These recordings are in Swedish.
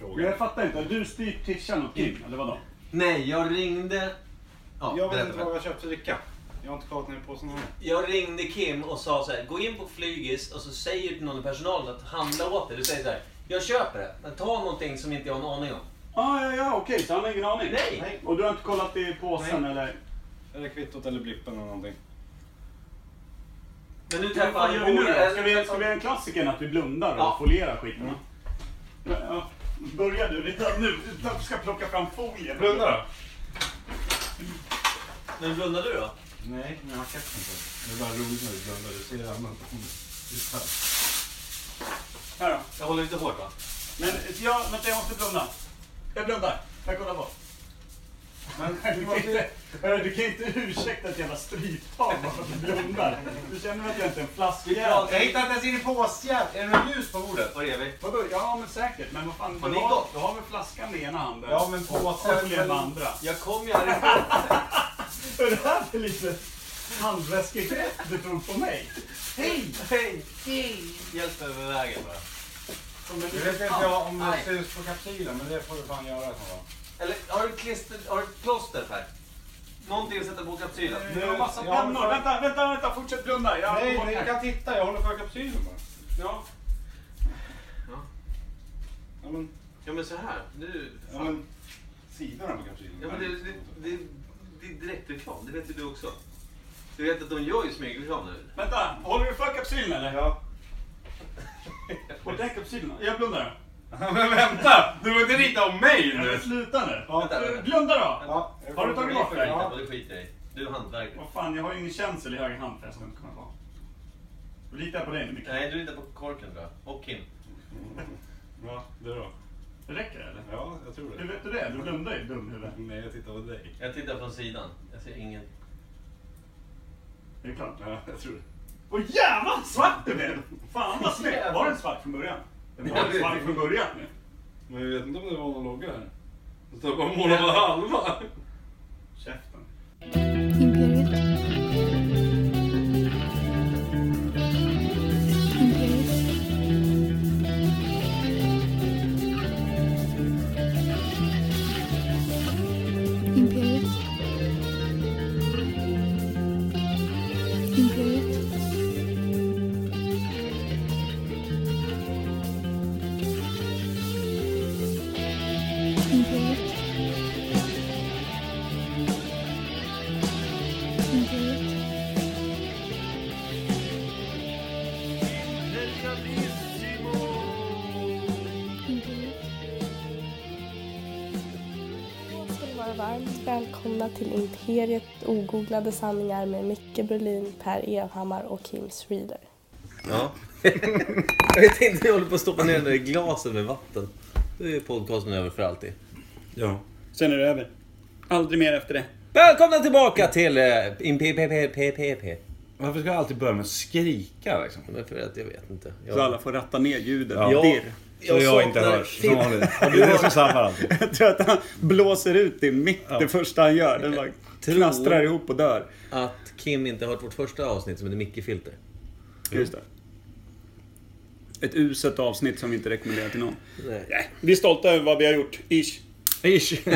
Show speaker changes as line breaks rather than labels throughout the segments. Men jag fattar inte, du styr tishan och Kim, eller vadå?
Nej, jag ringde... Ja,
Jag vet
berätta
inte
för
vad
mig.
jag köpte dricka. Jag har inte kollat ner på påsen heller.
Jag ringde Kim och sa så här, gå in på Flygis och så säger till någon i personalen att handla åt dig. Du säger så här, jag köper det, men ta någonting som inte jag har en aning om.
Ah, ja, ja, okej, så han har ingen aning?
Nej.
Nej.
Och du har inte kollat i påsen eller?
Eller kvittot eller blippen eller någonting.
Men nu
Vad
träffar
fan
han
gör vi nu då?
Bore-
Ska vi, ska vi göra en klassiker att vi blundar och
Ja.
folierar skiten? Ja, ja. Börja du redan nu. Du ska plocka fram folien.
Blunda då.
Men blundar du då?
Nej, men jag har sett inte. Det är bara roligt när du blundar. Du ser annat om det.
Här då.
Jag håller lite hårt va?
Men jag, vänta, jag måste blunda. Jag blundar. Jag kollar på.
Men
Du
du
kan
måste
inte, hörru, du kan inte ursäkta ett jävla stryptag bara för att du blundar. Du känner väl att jag inte är en flaskjävel?
Jag hittade inte ens in i påsjäveln. Är det något ljus på bordet?
Var är vi?
Vadå? Ja, men säkert. Men vad fan,
Har
du
ni
har,
gått?
du har väl flaskan med ena handen?
Ja, men
Och folien med
påsjäveln.
andra.
Jag kom ju härifrån.
Vad är det här för lite handväskegrepp du tog på mig?
Hej! Hej! Hjälp mig med vägen bara.
Som en
Jag vet inte jag om det ser ut på kapsylen, men det får du fan göra. så fall.
Eller har du klister, har du ett plåster Per? Någonting att sätta på kapsylen?
Du har massa
Jag håller
pennor.
för-
Vänta, vänta, vänta. Fortsätt blunda. Jag
Nej,
bort
ni
här.
kan titta. Jag håller för kapsylen bara.
Ja.
Ja, men,
Ja men så här. Nu...
ja, men sidorna på kapsylen.
Ja, men det, det, det, det är direktreklam, det vet ju du också. Du vet att de gör ju smygreklam nu.
Vänta, håller du för kapsylen eller?
Ja.
Och den kapsylen? Jag blundar.
Men vänta! Du får inte rita om mig
Jag sluta nu.
Vänta,
Du,
vänta.
Blunda då.
Ja, jag
Har du tagit bort den?
Ja.
Ja, men det skiter jag i. Du är hantverkare.
Vad fan, jag har ju ingen känsel i höger hand förresten. Kommer jag på. Då litar jag på dig mycket.
Nej, du är inte på korken tror jag. Och Kim.
Ja, du då?
Räcker det eller?
Ja, jag tror
Hur
det.
vet du det? Du blundar ju dumhuvud.
Nej, jag tittar på dig.
Jag tittar från sidan. Jag ser ingen.
Är det klart?
Ja, jag tror det.
Åh jävlar vad svart det blev! Fan vad snyggt! Var den svart från början? Den var ju svart från början.
Men jag vet inte om det var någon logga här. Jag står bara och målar på halva.
Käften.
Imperiet. Imperiet. Imperiet. Imperiet. Imperiet. Imperiet. Imperiet.
Då ska ni vara varmt välkomna till Imperiet ogooglade sanningar med Micke Berlin, Per Evhammar och Kim Reader.
Ja. jag vet inte, jag håller på att stoppa ner den där i glasen med vatten. Nu är podcasten över för alltid.
Ja.
Sen är det över. Aldrig mer efter det.
Välkomna tillbaka till eh, InPPPPPP.
Varför ska jag alltid börja med att skrika liksom?
Men för att jag vet inte. Jag,
Så alla får ratta ner ljudet.
Ja.
Dirr.
Så jag, inte
saknar
hörs. Som
Finn.
vanligt. Det är det som sabbar alltid.
Jag tror att han blåser ut din mick det första han gör. Den bara knastrar ihop och dör.
Att Kim inte har hört vårt första avsnitt som heter Micke-filter.
Just det. Ett uselt avsnitt som vi inte rekommenderar till någon.
Nej.
Vi är stolta över vad vi har gjort. Ish.
Ish.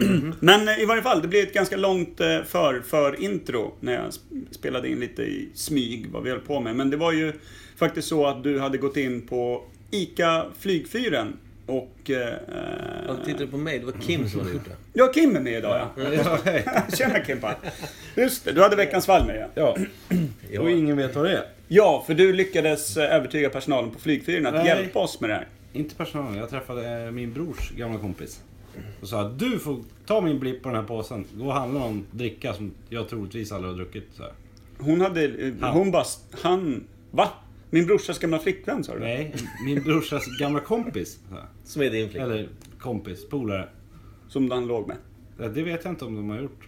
Mm.
Men eh, i varje fall, det blev ett ganska långt eh, för, för intro när jag sp- spelade in lite i smyg vad vi höll på med. Men det var ju faktiskt så att du hade gått in på ICA Flygfyren och... Eh,
Han tittade på mig, det var Kim som hade gjort det.
ja, Kim är med idag ja. Tjena Kimpa. Just det, du hade veckans fall med ja.
Ja, och
Ja.
ingen vet vad det är.
Ja, för du lyckades eh, övertyga personalen på Flygfyren att
Nej.
hjälpa oss med det här.
Inte personalen, jag träffade eh, min brors gamla kompis. Och sa att du får ta min blipp på den här påsen. Gå och handla någon dricka som jag troligtvis aldrig har druckit. Så här.
Hon hade... eh,
Han.
Hon bara... Han... Va? Min brorsas gamla flickvän sa du?
Nej, min brorsas gamla kompis. Så här.
Som är din flicka.
Eller kompis, polare.
Som han låg med.
Ja, Det vet jag inte om de har gjort.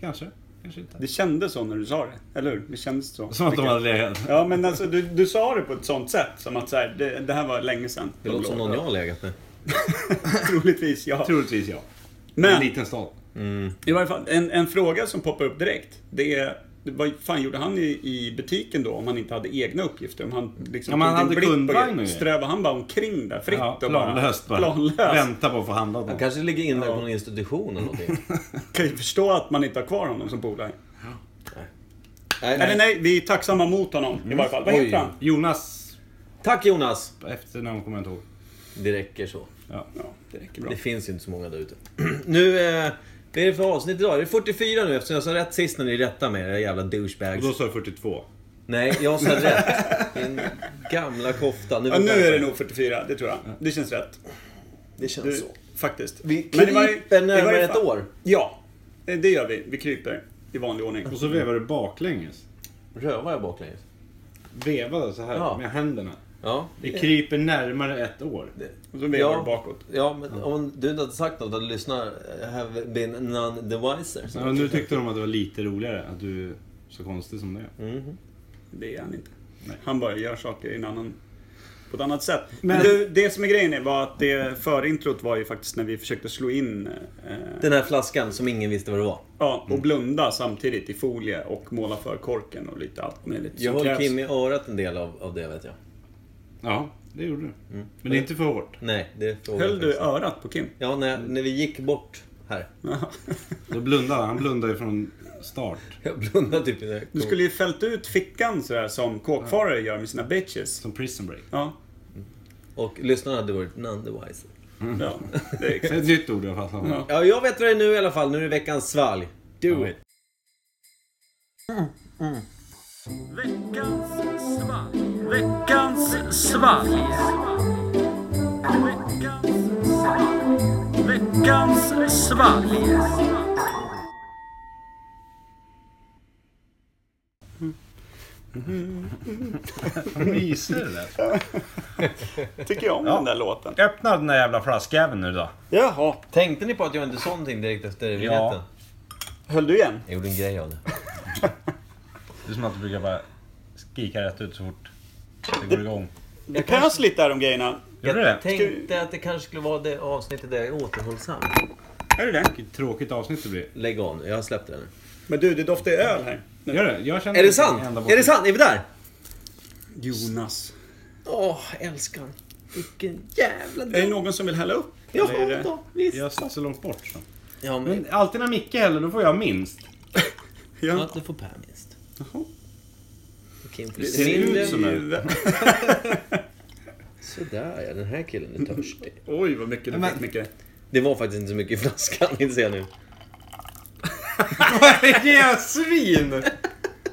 Kanske, kanske inte.
Det kändes så när du sa det, eller hur? Det kändes så.
Som att de hade legat.
Ja, men alltså du, du sa det på ett sånt sätt som att så här, det, det här var länge sedan.
Det låter som någon jag har legat med.
Troligtvis, ja.
Troligtvis ja. En
Men
liten stad.
i varje fall, en, en fråga som poppar upp direkt. Det är vad fan gjorde han i, i butiken då om han inte hade egna uppgifter? Om han liksom
Ja, men
tog
han
en
hade
blick på
kundvagn
det,
ju.
Strävade han bara omkring där fritt?
Ja,
och
planlöst bara.
Planlöst.
Vänta på att få handla
Han
på.
kanske ligger inne på någon institution eller någonting.
Kan ju förstå att man inte har kvar honom som polare.
nej,
Eller nej, vi är tacksamma mot honom i varje fall. Vad
Oj.
heter han?
Jonas
Tack Jonas!
efternamn kommer jag inte ihåg.
Det räcker så.
Ja.
Ja, det räcker bra.
Det finns ju inte så många där ute. nu, eh, vad är det för avsnitt idag? Är det 44 nu eftersom jag sa rätt sist när ni rättade mig, era jävla
Och
douchebags?
då sa jag 42.
Nej, jag sa rätt. Din gamla kofta.
Ja, nu är det nog 44, det tror jag. Det känns rätt.
Det känns
Du,
så.
faktiskt.
Vi
Men i varje-
kryper
i varje
närmare ett
fall-
år.
Ja, eh, det gör vi. Vi kryper i vanlig ordning.
Och så vevar du baklänges.
Rövar jag baklänges?
Vevade så här
Ja.
med händerna.
Ja.
Det kryper närmare ett år.
Och så vevar du bakåt.
Ja, men om du inte hade sagt något eh, hade lyssnare have been none the wiser.
Ja, nu tyckte de att det var lite roligare att du är så konstig som du är.
Det är han inte. Han bara gör saker i en annan, på ett annat sätt. Men,
Men-
du, det som är grejen är var att det förintrot var ju faktiskt när vi försökte slå in eh,
Den här flaskan som ingen visste vad det var.
ja, och blunda samtidigt i folie och måla för korken och lite allt möjligt.
Jag
som
höll
krävs.
Kim i örat en del av, av det vet jag.
Ja, det gjorde du. Men det är inte för hårt.
Nej, det frågade
Höll
jag
du
faktiskt.
örat på Kim?
Ja, när, när vi gick bort här.
Då blundade han. Han blundade ju från start.
Jag blundade typ när jag
Du
kom.
skulle ju fält ut fickan sådär som kåkfarare gör med sina bitches.
Som prison break.
Ja,
Och lyssnarna hade varit none the wiser.
ja det är
Det är
exakt.
ett nytt ord jag fastnade på.
Ja.
Ja, jag vet vad det är nu i alla fall. Nu är det veckans svalg. Do it.
Myser det där.
Tycker jag om den där låten.
Öppna den där jävla flaskjäveln nu då.
Jaha,
Tänkte ni på att jag inte sa någonting direkt efter vignetten?
höll du igen?
Jag gjorde en grej av det.
Det är som att du brukar bara skrika rätt ut så fort det går igång.
Det pös lite här om grejerna.
Gjorde du
Jag
det?
tänkte att det kanske skulle vara det avsnittet där jag är återhållsam.
Är det det?
Vilket tråkigt avsnitt det blir.
Lägg av nu, jag har släppt det nu.
Men du, det doftar ju öl här.
Gör det? Jag känner
Är det
inte
sant?
en enda
Är det
bort-
sant? Är vi där?
Jonas.
Åh, älskar. Vilken jävla
Är det
dag.
någon som vill hälla upp?
Ja,
Eller är det-
då, visst.
Jag satt så långt bort så.
Ja, men...
Mm.
Men alltid när Micke häller, då får jag minst.
Ja,
Ja.
du får Per minst.
Jaha.
Och Kim får
Det
lite
ser
mindre.
ut som det.
Sådär ja, den här killen är törstig.
Oj, vad mycket du
Men-
fick, mycket.
Det var faktiskt inte så mycket i flaskan, inser jag nu.
Vilket svin!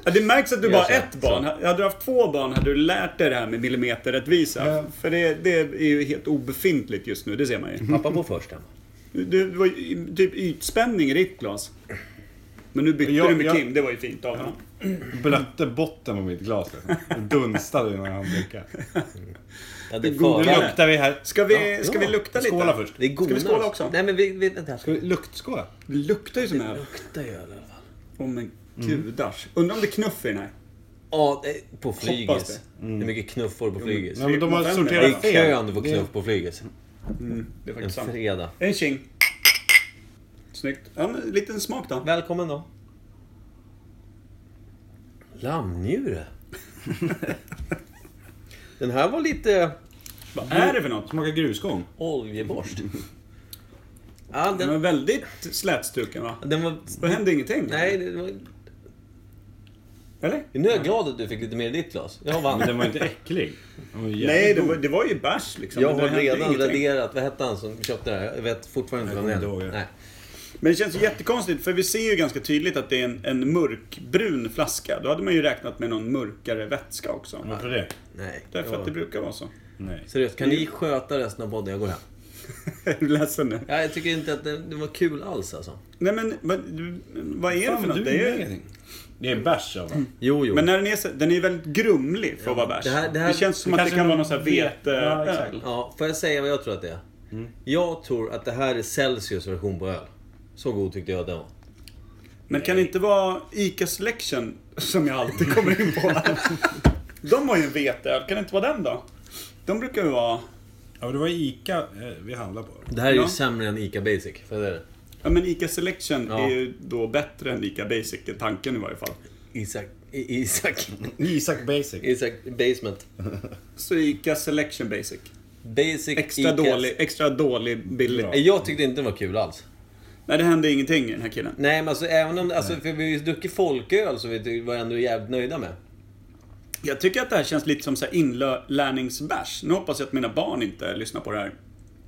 Ja, det märks att du bara har
Jag
ett barn. Hade du haft två barn hade du lärt dig det här med millimeterrättvisa. För det, det är ju helt obefintligt just nu, det ser man ju.
Pappa på först hemma.
Du, det var ju typ ytspänning i ditt glas. Men nu bytte
Jag-
du med
jag-
Kim, det var ju fint av honom.
Blötte botten på mitt glas liksom. Och dunstade innan han dricker.
Ja, det, är
Nu
förare.
luktar vi här.
Ska vi, ska vi
ja.
lukta lite?
Skåla först.
Det är
Ska vi skåla
godast.
också?
Nej men vi, vi, vänta.
Ska vi luktskåla?
Det luktar ju som öl.
Luktar ju i alla fall.
Åh men gudars. Undrar om det är knuff i den här.
Ja, det- på
Hoppas Mm.
flygis. Det. är mycket knuffor på flygis.
Nej, men de har
3,5
Det är
sorterat
i kön
fel.
du får knuff på flygis.
Mm, Det är
En
faktiskt sant.
fredag.
En tjing. Snyggt. Ja, men en liten smak då.
Välkommen då. Lammnjure. Den här var lite
Vad är det för något?
Smakar grusgång.
oljeborst. Ja,
Den
den,
var väldigt slätstruken va?
den var...
Då hände ingenting?
Nej, det var,
Eller?
nu är jag glad att du fick lite mer i ditt glas. Jag vann.
Men den var ju inte äcklig. Den var ju jävligt
Nej, det
god.
var, det var ju bärs liksom.
Jag
men
har
det hände
redan
ingenting.
raderat. Vad hette han som köpte det här? Jag vet fortfarande inte
Jag
vem
kommer
det
inte
är.
ihåg
Men det känns ju jättekonstigt för vi ser ju ganska tydligt att det är en, en mörkbrun flaska. Då hade man ju räknat med någon mörkare vätska också.
Varför det?
Nej.
Därför
Jag-
att det brukar vara så.
Nej.
Seriöst, kan ni sköta resten av podden? Jag går hem.
Är du ledsen nu?
Ja, jag tycker inte att det, det var kul alls alltså.
Nej men vad, du- vad är det för
Fan,
något?
du
Det är ju...
ingenting. Det är bärs av den.
Jo, jo.
Men när den är så, den är ju väldigt grumlig för att vara bärs.
det
Det,
här- det här-
känns som
det
att det
kanske
kan
är
vara
någon
någon sån här eh, vete...
Ja, exakt.
Mm. Ja, får jag säga vad jag tror att det är? Jag tror att det här är Celsius version på öl. Så god tyckte jag att den var.
Men kan det inte vara ICA Selection som jag alltid kommer in på? De har ju en veteöl, kan det inte vara den då? De brukar ju vara...
Ja, men det var Ica eh, vi handlade på.
Det här är ju
Ja.
sämre än ICA Basic. För det är det.
Ja men ICA Selection
Ja.
är ju då bättre än ICA Basic, är tanken i varje fall.
Isak... I- Isak...
Isak Basic.
Isak Basement.
Så Ica Selection Basic.
Basic
Extra
Icas-
dålig, extra dålig, billig.
Bra.
Nej, Jag tyckte inte den var kul alls.
Nej, det hände ingenting i den här killen.
Nej, men alltså även om... Alltså, för vi har ju druckit folköl som vi tyckte- var ändå jävligt nöjda med.
Jag tycker att det här känns lite som så här inlärningsbärs. Nu hoppas jag att mina barn inte lyssnar på det här.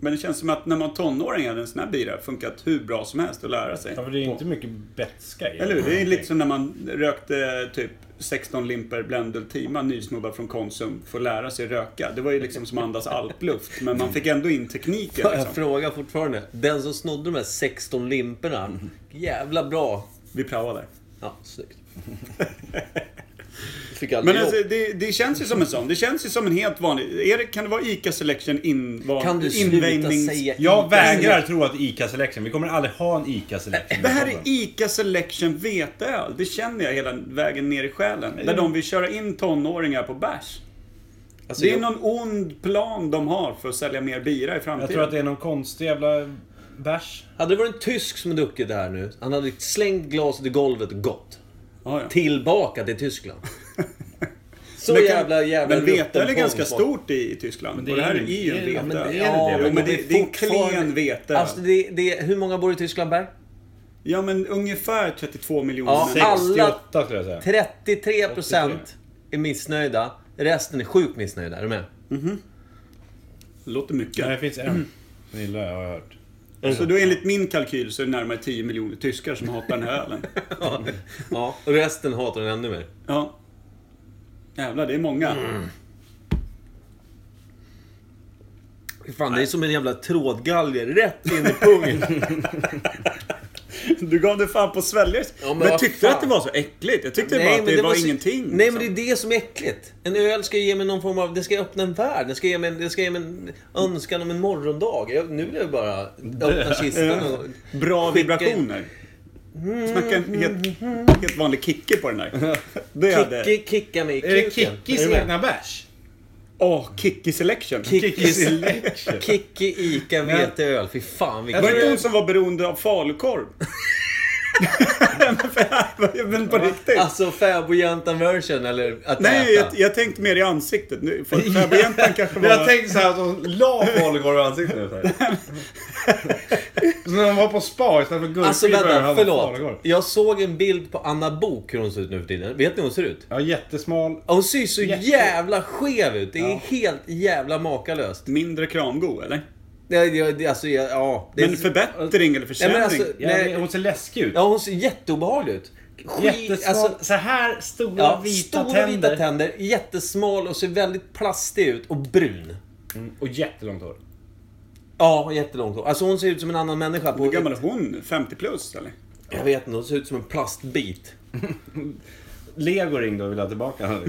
Men det känns som att när man var tonåring hade en sån här bira funkat hur bra som helst att lära sig.
Ja, för det är ju inte mycket betska i
Eller hur? Det är lite som när man rökte typ 16 limper Blendel Tima, nysnubbar från Konsum, för att lära sig röka. Det var ju liksom som att andas alpluft, men man fick ändå in tekniken.
Jag
Liksom.
frågar fortfarande. Den som snodde de här 16 limporna. Jävla bra.
Vi praoade.
Ja, snyggt. Fick aldrig
Men
jobb.
alltså, det, det känns ju som en sån. Det känns ju som en helt vanlig... Är det, kan det vara ICA Selection in, var,
Kan du sluta
invändnings-
säga
Jag vägrar
Selection.
tro att ICA Selection. Vi kommer aldrig ha en ICA Selection.
Det här är ICA Selection veteöl. Det känner jag hela vägen ner i själen. Där de vill köra in tonåringar på bärs.
Alltså,
Det är
jag-
någon ond plan de har för att sälja mer bira i framtiden.
Jag tror att det är någon konstig jävla bärs.
Hade det varit en tysk som hade druckit det här nu, han hade slängt glaset i golvet och gått.
Ja, ja.
Tillbaka till Tyskland. Så
Men kan-
jävla jävla
Men veteöl är
rutten
ganska
folk.
stort i, i Tyskland.
Men det
och det
är
här
ju-
är ju en
det
veteöl.
är- ja, men det är det.
Ja,
Ja,
jo, men det, det är en
fortfarande-
klen veteöl.
Alltså, det, det, hur många bor i Tyskland, Berg?
Ja, men ungefär 32 miljoner.
Ja,
människor.
all- Alla-
68 skulle jag säga.
33 procent är missnöjda. Resten är sjukt missnöjda. Är du med?
låter mycket.
Nej, det finns
Mm.
en. Den gillar jag, har jag hört.
Så då enligt min kalkyl så är det närmare 10 miljoner tyskar som hatar den här ölen.
Ja. ja. Och resten hatar den ännu mer.
Ja. Jävlar, det är många.
Mm.
Fan, det är som en jävla trådgalge rätt in i pungen.
Du gav dig fan på att svälja.
Ja, men
men
vad
tyckte
fan.
du att det var så äckligt? Jag tyckte bara att det, var,
så-
ingenting. liksom.
Nej, men det är det som är äckligt. En öl ska ge mig någon form av... Det ska öppna en värld. Det ska ge mig, det ska ge mig en önskan om en morgondag. Jag, nu vill jag bara öppna kistan och...
liksom. Bra
Skicka Mm.
vibrationer. Snacka en helt, helt vanlig kicke på den där. Det hade...
Kicki, kicka mig i
Är det
kuken.
Kickis
Är du med?
egna bärs?
Åh, Kicki Selection.
Kickis-
Selection.
Kicki, Ica, veteöl. Fy fan vilken...
Var det inte hon som var beroende av falukorv? Men för- men på riktigt.
Alltså fäbodjäntan version eller att
Nej,
äta.
jag, jag tänkte mer i ansiktet nu. För fäbodjäntan kanske var...
Jag tänkte såhär att hon la falukorv i ansiktet. Så, här. så när hon var på spa istället för gurkfibrer
Alltså
hade
vänta,
hon
förlåt.
falukorv.
Jag såg en bild på Anna Bok hur hon ser ut nu för tiden. Vet ni hur hon ser ut?
Ja, jättesmal.
Ja, Hon ser ju så
Jätte-
jävla skev ut. Det är helt jävla makalöst.
Mindre kramgo, eller?
Ja, ja, det- alltså, ja, ja. Det är...
Men förbättring eller försämring?
Ja, men alltså-
Ja,
Nej.
men hon ser läskig ut.
ja, hon ser jätteobehaglig ut. Skit-
Jättesmal.
alltså,
så här stora
ja,
vita
stora
tänder.
vita tänder, jättesmal och ser väldigt plastig ut och brun.
Mm, och jättelångt hår.
Ja, jättelångt hår. Alltså hon ser ut som en annan människa. På
Hur gammal är hon? 50 plus, eller?
Jag vet inte, hon ser ut som en plastbit.
Lego ringde och ville ha tillbaka henne.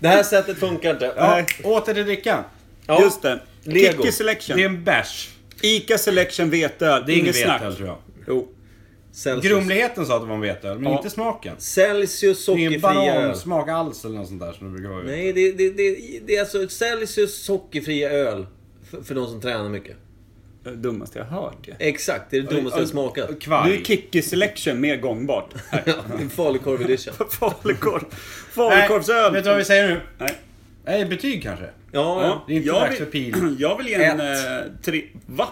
Det här sättet funkar inte.
Ja, åter till drickan.
Ja.
Just det.
Lego.
Kicki
Det är
Selection.
en bärs.
Ica Selection veteöl.
Det är ingen
Inget snack.
vetöl tror jag.
Jo.
Celsius.
Grumligheten sa att det var en vetöl, men inte smaken.
Celsius
Det är ingen
sockerfria öl.
banansmak alls eller något sånt där som det brukar vara.
Nej, det, det, det, det är alltså Celsius sockerfria öl. För, för de som tränar mycket.
Det dummaste jag har hört ju.
Exakt, det är det dummaste jag
Oj,
smakat.
Nu
Kvarg.
är Kicki Selection mer gångbart.
Ja, det är Falukorv edition.
Falukorv.
Nej,
Falukorvsöl.
Vet du vad vi säger nu?
Nej.
Nej, betyg kanske?
Ja,
Det är inte
jag
dags
vill-
för pil.
Jag vill ge en
Ett.
eh, tre... Va?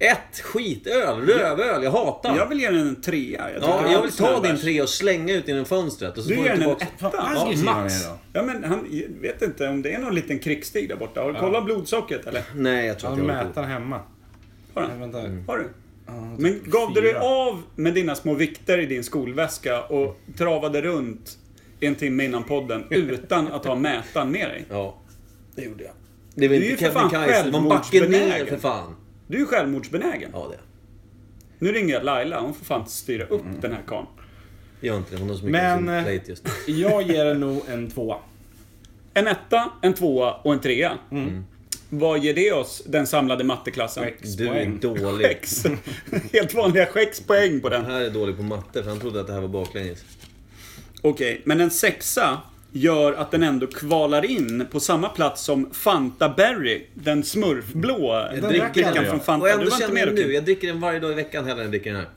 ett skitöl. Rövöl. Jag hatar.
Jag vill ge den en trea. Jag, tycker
ja, jag vill
det är
ta din
bärs.
tre och slänga ut genom fönstret. Och så
Du
får
ger den en
tillbaka-
etta.
Ja,
Aggressiv han är
max.
idag.
Ja, men han... jag vet inte om det är någon liten krigsstig där borta. Har du kollat blodsockret eller?
Nej, jag tror
Han
inte jag håller på.
mäter hemma.
Har
Nej,
han?
vänta.
Har du? Mm. Men gav du dig av med dina små vikter i din skolväska och travade runt en timme innan podden utan att ha mätaren med dig?
Ja, det gjorde jag. Det är väl
Du är
inte
ju för fan
Kebnekaise. Man backar ner
självmordsbenägen.
för fan.
Du är ju självmordsbenägen.
Ja, det.
Nu ringer jag Laila, hon får fan styra upp den här karln.
Gör inte det. Hon har så mycket
Men,
på sin
eh,
plate just nu.
Jag ger den nog en tvåa.
En etta, en tvåa och en trea. Vad ger det oss, den samlade matteklassen?
Du är
poäng.
dålig.
Skäcks. Helt vanliga skäckspoäng på den.
Det här är dålig på matte för han trodde att det här var baklänges.
Okej, men en sexa gör att den ändå kvalar in på samma plats som Fanta Berry, den smurfblå
där
drickan
kan jag.
från
Och
Fanta. Du
ändå
var inte
känner
med
jag
och
nu,
klipp.
jag dricker den varje dag i veckan hellre än jag dricker den här.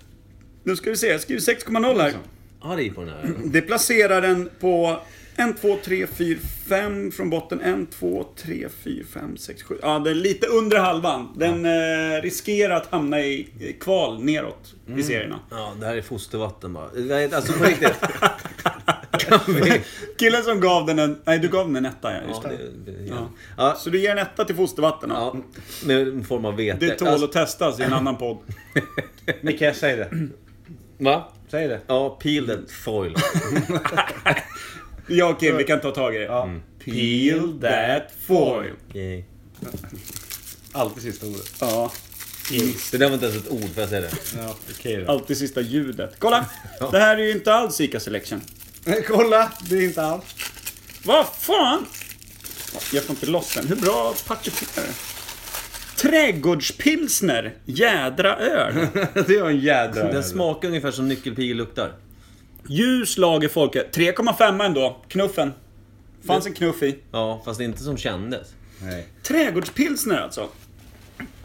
Nu ska vi se, jag skriver 6,0 här.
arg på den här.
Det placerar den på 1, 2, 3, 4, 5 från botten. 1, 2, 3, 4, 5, 6, 7. Ja, den är lite under halvan. Den eh, riskerar att hamna i i kval neråt i serierna.
Ja, det här är fostervatten bara. Nej, alltså på riktigt. kan vi?
Killen som gav den en... Nej, du gav den en etta, ja.
Ja,
Just det.
det, det,
Ja.
ja. Ja,
Så du ger en etta till fostervatten? Ja.
ja, med en form av vete.
Det tål
Alltså,
att testas i en annan podd.
Micke, säg det.
va?
Säg det.
Ja, peel that foil.
Jag och Kim, vi kan ta tag i det.
Ja.
Mm.
Peel that foil.
Yay.
Alltid sista ordet.
Ja,
Det där var inte ens ett ord, för jag säga det?
Ja, okej då.
alltid sista ljudet. Kolla! Det här är ju inte alls Ica Selection.
Kolla! Det är inte alls.
Vad fan! Jag får inte loss den. Hur bra paketerar du? Trädgårdspilsner, jädra öl.
det är en jädra
Den smakar ungefär som nyckelpigor luktar.
Ljus lager folke. 3,5 ändå. Knuffen. Fanns en knuff i.
Ja, fast det är inte som kändes.
Nej.
Trädgårdspilsner alltså.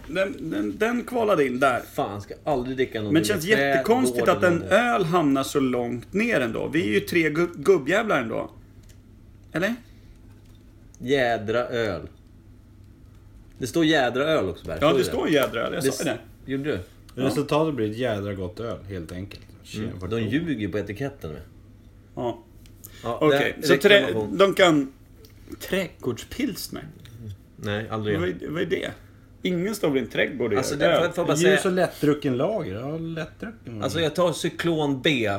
Den, den, den kvalade in där.
Fan, ska aldrig dricka någonting
Men det känns
med träd,
jättekonstigt
vården
att en
och det.
öl hamnar så långt ner ändå. Vi är ju tre gu- gubbjävlar ändå. Eller?
Jädra öl. Det står jädra öl också, Bert.
Ja, det står jädra öl. Jag sa ju det.
Gjorde du?
Resultatet blir ett jädra gott öl, helt enkelt. Mm.
De ljuger på etiketten med.
Ja.
Ja,
Okej,
det-
så trä,
reklamation.
de kan... Trädgårdspilsner?
Nej, aldrig
Vad
igen.
är, vad är det? Ingen står väl i en trädgård och
Alltså,
gör
det-
öl?
för- för- Får bara
Ljus
säga-
och lättdrucken lager. Ja, lättdrucken.
Alltså jag tar cyklon B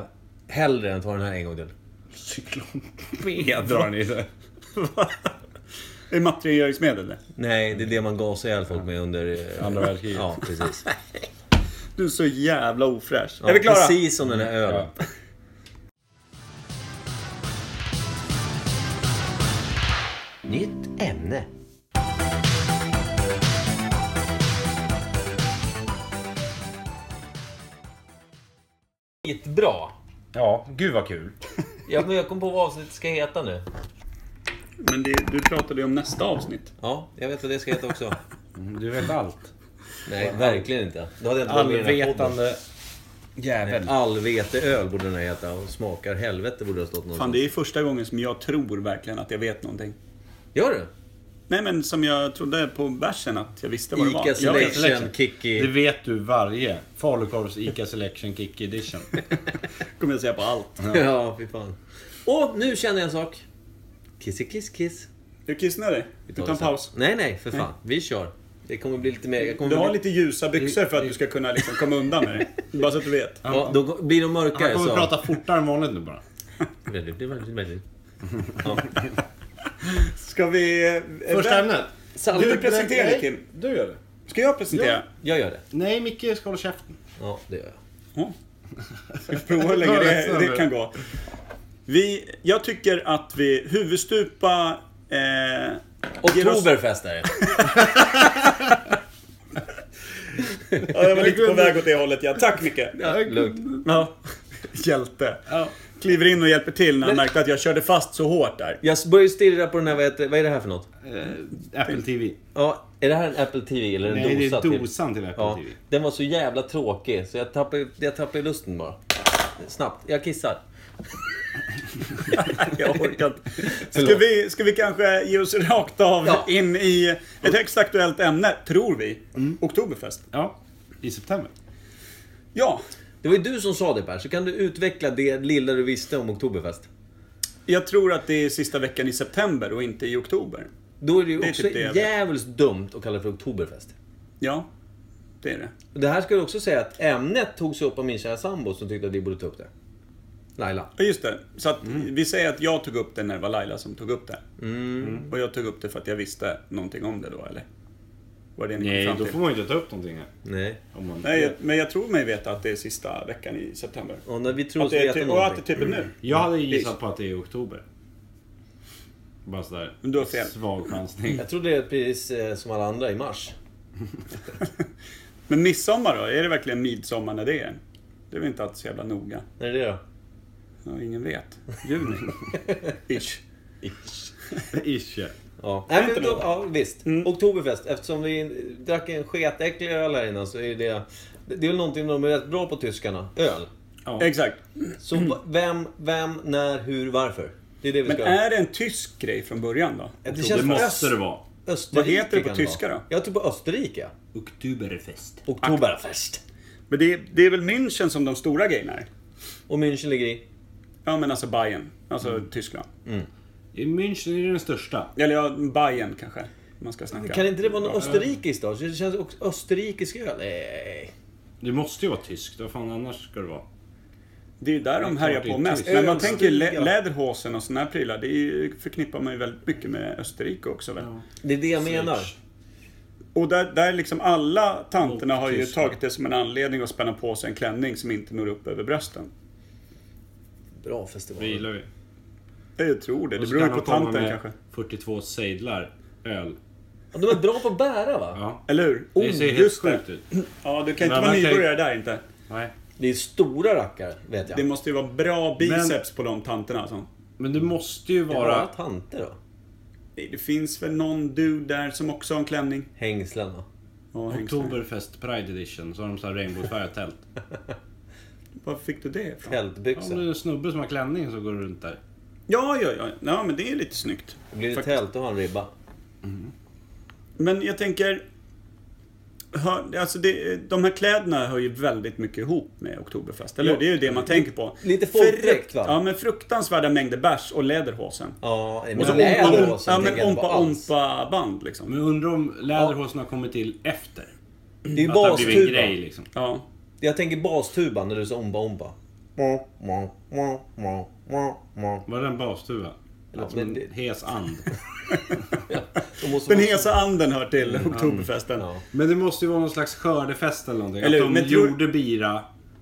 hellre än tar den här en gång till.
cyklon B drar ni det.
Är materialgöringsmedel det?
Nej, det är det man gasar ihjäl folk med under... eh,
Andra världskriget.
Ja, precis.
Du är så jävla ofräsch.
Ja,
är vi klara?
Precis som den här ölen. Nytt ämne. Skitbra.
Ja, gud vad kul.
Ja, men jag kom på vad avsnittet ska heta nu.
Men det, du pratade ju om nästa avsnitt.
Ja, jag vet vad det ska heta också.
Du vet allt.
Nej, verkligen inte. Då hade jag inte varit med i den här podden.
Allvetande
Mm.
jävel.
Allveteöl borde den här heta. Och smakar helvete borde det ha stått
Fan,
någonstans.
det är första gången som jag tror verkligen att jag vet någonting.
Gör du?
Nej, men som jag trodde på bärsen att jag visste vad det var.
Ica
Jag vet.
Selection,
Det
Kikki.
vet du varje. Falukorvs Ica Selection Kick Edition.
kommer jag säga på allt.
Ja, fy fan. Och nu känner jag en sak. Kissi kiss kiss.
Du kissnödig? Vi tar en
det sen.
paus.
Nej, nej, för fan. Vi kör. Det kommer bli lite mer... Jag kommer
Du har
bli...
lite ljusa byxor för att du ska kunna liksom komma undan med det. Bara så att du vet.
Ja, då blir de
Han
mörkare
kommer
så...
prata fortare än vanligt nu bara.
Väldigt, väldigt, väldigt. Ja.
Ska vi... eh,
Första ämnet.
Salt.
Du presenterar det, Kim.
Du gör det.
Ska jag presentera?
Jag gör det.
Nej, Micke ska hålla käften.
Ja, det gör jag.
Ja. Ska vi prova hur länge det, det kan gå. Vi, jag tycker att vi huvudstupa... Eh, ger oss-
Oktoberfest är det.
Ja, jag var lite på väg åt det hållet ja. Tack Micke!
Ja, lugnt.
Ja. Hjälte. Kliver in och hjälper till när han märkte att jag körde fast så hårt där.
Jag börjar stirra på den här, vad, heter, vad är det här för något?
Eh, Apple TV.
Ja, är det här en Apple TV eller en
Nej, det
dosa?
är
till?
dosan till Apple
Ja,
TV.
den var så jävla tråkig så jag tappade, jag tappade lusten bara. Snabbt. Jag kissar.
Jag orkar inte. Ska
Förlåt.
vi, ska vi kanske ge oss rakt av
Ja.
in i ett högst aktuellt ämne, tror vi.
Mm.
Oktoberfest.
Ja, i september.
Ja,
Det var ju du som sa det Per, så kan du utveckla det lilla du visste om Oktoberfest?
jag tror att det är sista veckan i september och inte i oktober.
Då är det ju
Det är
också
typ det jag vet.
jävligt dumt att kalla det för Oktoberfest.
Ja, det är det.
Och Det här ska jag också säga att ämnet togs upp av min kära sambo som tyckte att vi borde ta upp det. Laila.
Ja, just det. Så att
Mm.
vi säger att jag tog upp det när det var Laila som tog upp det.
Mm.
Och jag tog upp det för att jag visste någonting om det då, eller? Var det ni kom
Nej,
fram
då
till?
får man ju inte ta upp någonting här.
Nej.
Om man...
Nej, jag, men jag tror mig veta att det är sista veckan i september.
Och när vi
Att
tror
Alltså,
oss
det är
veta
typ, och att det
någonting.
typ är nu.
Jag hade gissat på att det är i oktober. Bara sådär.
Men du har fel.
Svag chansning.
Jag tror det är precis eh, som alla andra i mars.
Men midsommar då? Är det verkligen midsommar när det är? Det är väl inte alltid så jävla noga.
När är det då?
Ja, ingen vet. Juni. Ish.
Ish, ja.
Ja, Nej,
inte Mm.
men då,
det?
ja visst. Oktoberfest. Eftersom vi drack en sketäcklig öl här innan så är det... Det är väl någonting de är rätt bra på tyskarna. Öl.
Ja.
Exakt.
Så va- vem, vem, när, hur, varför? Det är det vi
Mm. Men
ska...
är det en tysk grej från början då?
det
Det
känns
måste det vara.
Österrike
Vad heter det på
kan vara.
tyska då?
Jag tror på Österrike.
Oktoberfest.
Oktoberfest.
Men det, det är väl München som de stora grejerna är?
Och München ligger i.
Ja men alltså Bayern. Alltså
Mm.
Tyskland.
I München är det den största.
Eller ja, Bayern kanske. om Man ska snacka.
Kan inte det vara något österrikiskt då? Det känns också österrikisk öl. Nej.
Det måste ju vara tyskt. Vad fan annars ska det vara?
Det är ju där de
Det är
härjar
klart
på
det är
mest.
tyst.
Men man tänker
Ja.
lä- Läderhosen och såna här prylar. Det är ju, förknippar man ju väldigt mycket med Österrike också väl?
Det är det jag menar.
Och där, där liksom alla tanterna
Och
har ju
Tyskland.
tagit det som en anledning att spänna på sig en klänning som inte når upp över brösten.
Bra festival.
Vi gillar ju.
Jag tror det. Det
Och så
beror ju
kan
på
de komma
tanten
med
kanske.
42 sejdlar öl.
Ja, De är bra på att bära va?
Ja.
Eller hur?
Det ser helt sjukt ut.
Ja, du kan
Men
inte vara
man kan ju-
nybörjare där inte.
Nej.
Det är stora rackare, vet jag.
Det måste ju vara bra biceps på de tanterna alltså.
Men det måste ju
Bara
vara...
tanter då?
Nej, Det finns väl någon dude där som också har en klänning?
Hängslen då?
Ja, hängslen.
Oktoberfest Pride Edition. Så har de så här regnbågsfärgat tält.
Var fick du det ifrån?
Ja, om det
Tältbyxor.
är en snubbe som har klänning så går det runt där.
Ja, ja, ja. Ja, men det är lite snyggt.
Blir det
Faktiskt.
tält och har en ribba.
Men jag tänker... hör- Alltså det, de här kläderna hör ju väldigt mycket ihop med Oktoberfest, eller hur? Det är ju det man tänker på.
Lite folkdräkt, va?
Ja, men fruktansvärda mängder bärs och läderhosen.
Ja, men
Och så
läder
ompa,
och
ja,
sånt
men
tänker jag inte på
ompa,
alls. Mm.
ompa band liksom.
Men undrar om läderhosen har kommit till efter?
Det är ju
Att det har blivit en
bastuban.
grej liksom.
Ja.
Jag tänker bastuban när du sa omba omba. Må, må, må, må, må, må.
Var det en bastuva?
Ja,
Lät som
men det-
en hes and.
Då måste
Den
man-
hesa anden hör till Oktoberfesten.
Mm, Ja.
Men det måste ju vara någon slags skördefest eller någonting.
Eller hur?
att de
Men tror-
gjorde bira,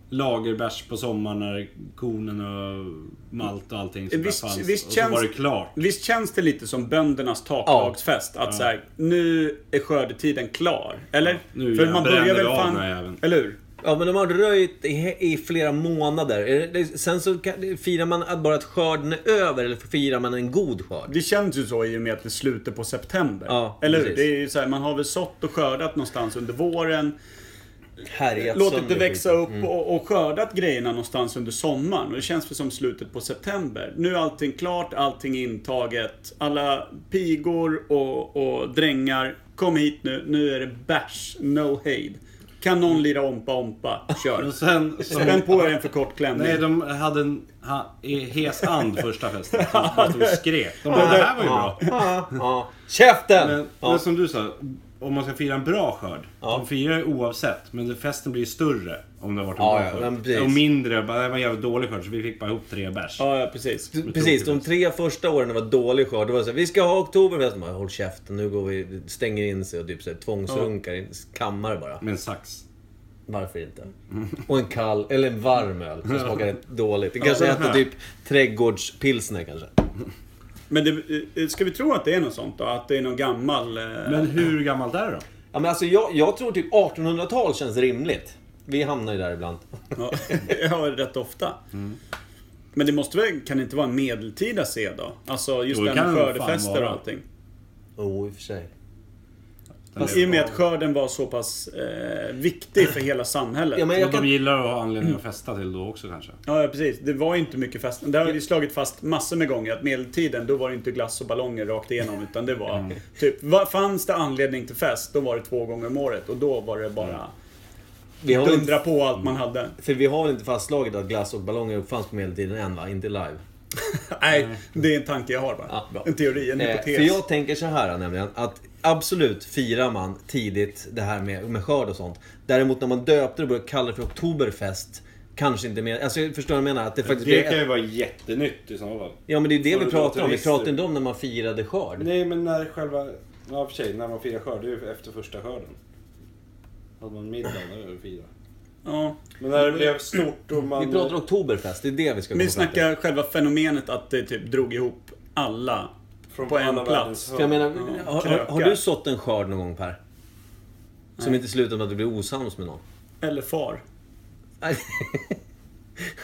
lagerbärs på sommaren när kornen och malt och allting som
Eh, Visst-
där fanns.
visst
och så
känns-
var det klart.
Visst känns det lite som böndernas taklagsfest? Att så här, nu är skördetiden klar. Eller?
Nu
För man
bränner
börjar väl
vi av
fan...
den här jäveln.
Eller hur?
Ja, men de har röjt i, i flera månader. Är det- Sen så kan- firar man att- bara att skörden är över, eller firar man en god skörd?
Det känns ju så i och med att det är slutet på september.
Ja,
eller hur?
precis.
Det är ju så här, man har väl sått och skördat någonstans under våren.
Härjat
Låtit
sönder
det växa
skiten.
upp och, och skördat grejerna någonstans under sommaren. Och det känns väl som slutet på september. Nu är allting klart, allting intaget. Alla pigor och, och drängar. Kom hit nu, nu är det bärs, no hejd. Kan någon lira ompa ompa? Kör.
Och sen... Så,
Spänn på er en för kort klänning.
nej, de hade en ha, i hes and första festen. Så de bara stod och skrek. De bara, det här var ju bra.
Ja, ja. Käften!
Men,
ja.
men som du sa, om man ska fira en bra skörd. De firar ju oavsett, men det- festen blir ju större om det har varit en
Ja,
bra
ja, men
skörd.
precis.
och mindre, bara, det var en jävligt dålig skörd så vi fick bara ihop tre bärs.
Ja, ja, precis.
Precis, de tre första åren det var dålig skörd. Det var så här, vi ska ha oktoberfest. Man bara, Håll käften, nu går vi, stänger in sig och typ så här, tvångsrunkar i en kammare bara.
Med en sax.
Varför inte?
Mm.
Och en kall, eller en varm öl som smakar rätt dåligt. Det kanske heter typ trädgårdspilsner kanske.
Men det, eh, ska vi tro att det är något sånt då? Att det är någon gammal... eh,
Men hur gammalt är det då?
Ja, men alltså, jag, jag tror typ 1800-tal känns rimligt. Vi hamnar ju där ibland.
Ja, jag hör det rätt ofta. Men det måste väl, kan det inte vara en medeltida sed då? Alltså just
Jo,
det
det
här med
kan det fan
skördefester och
vara.
allting.
Oh, i och för sig.
I och med att skörden var så pass eh, viktig för hela samhället.
Ja,
Ja,
men
Och
jag
de
kan...
gillar att ha anledning att festa till då också kanske.
ja, precis. Det var ju inte mycket fest. Det har vi slagit fast massor med gånger att medeltiden, då var det inte glass och ballonger rakt igenom. Utan det var
Mm.
typ, va- fanns det anledning till fest, då var det två gånger om året. Och då var det bara
Vi
Mm.
har väl inte,
dundra på allt man hade.
för vi har väl inte fastslagit att glass och ballonger uppfanns på medeltiden än va? Inte live.
Nej,
Mm.
det är en tanke jag har bara.
Ja, bra.
en teori, en
Eh,
hypotes.
för jag tänker så här nämligen att absolut firar man tidigt det här med, med skörd och sånt. Däremot när man döpte det och började kalla det för oktoberfest Kanske inte mer, alltså jag förstår vad jag menar? Att det faktiskt blir ett...
vara jättenytt i så fall.
Ja men det är det
Får
vi
du
pratar om, vi
turister?
pratar inte om när man firade skörd.
Nej men när själva... Ja för sig, när man firar skörd, det är ju efter första skörden. Hade man middag, då är det fira.
ja.
Men när det blev stort och man...
Vi pratar oktoberfest, det är det vi ska
Vi
komma fram till.
snackar själva fenomenet att det typ drog ihop alla på en plats.
För jag menar, har, har, har
krökar.
du sått en skörd någon gång Per? Som inte slutar med att du blir osams med någon?
Eller far.
Nej.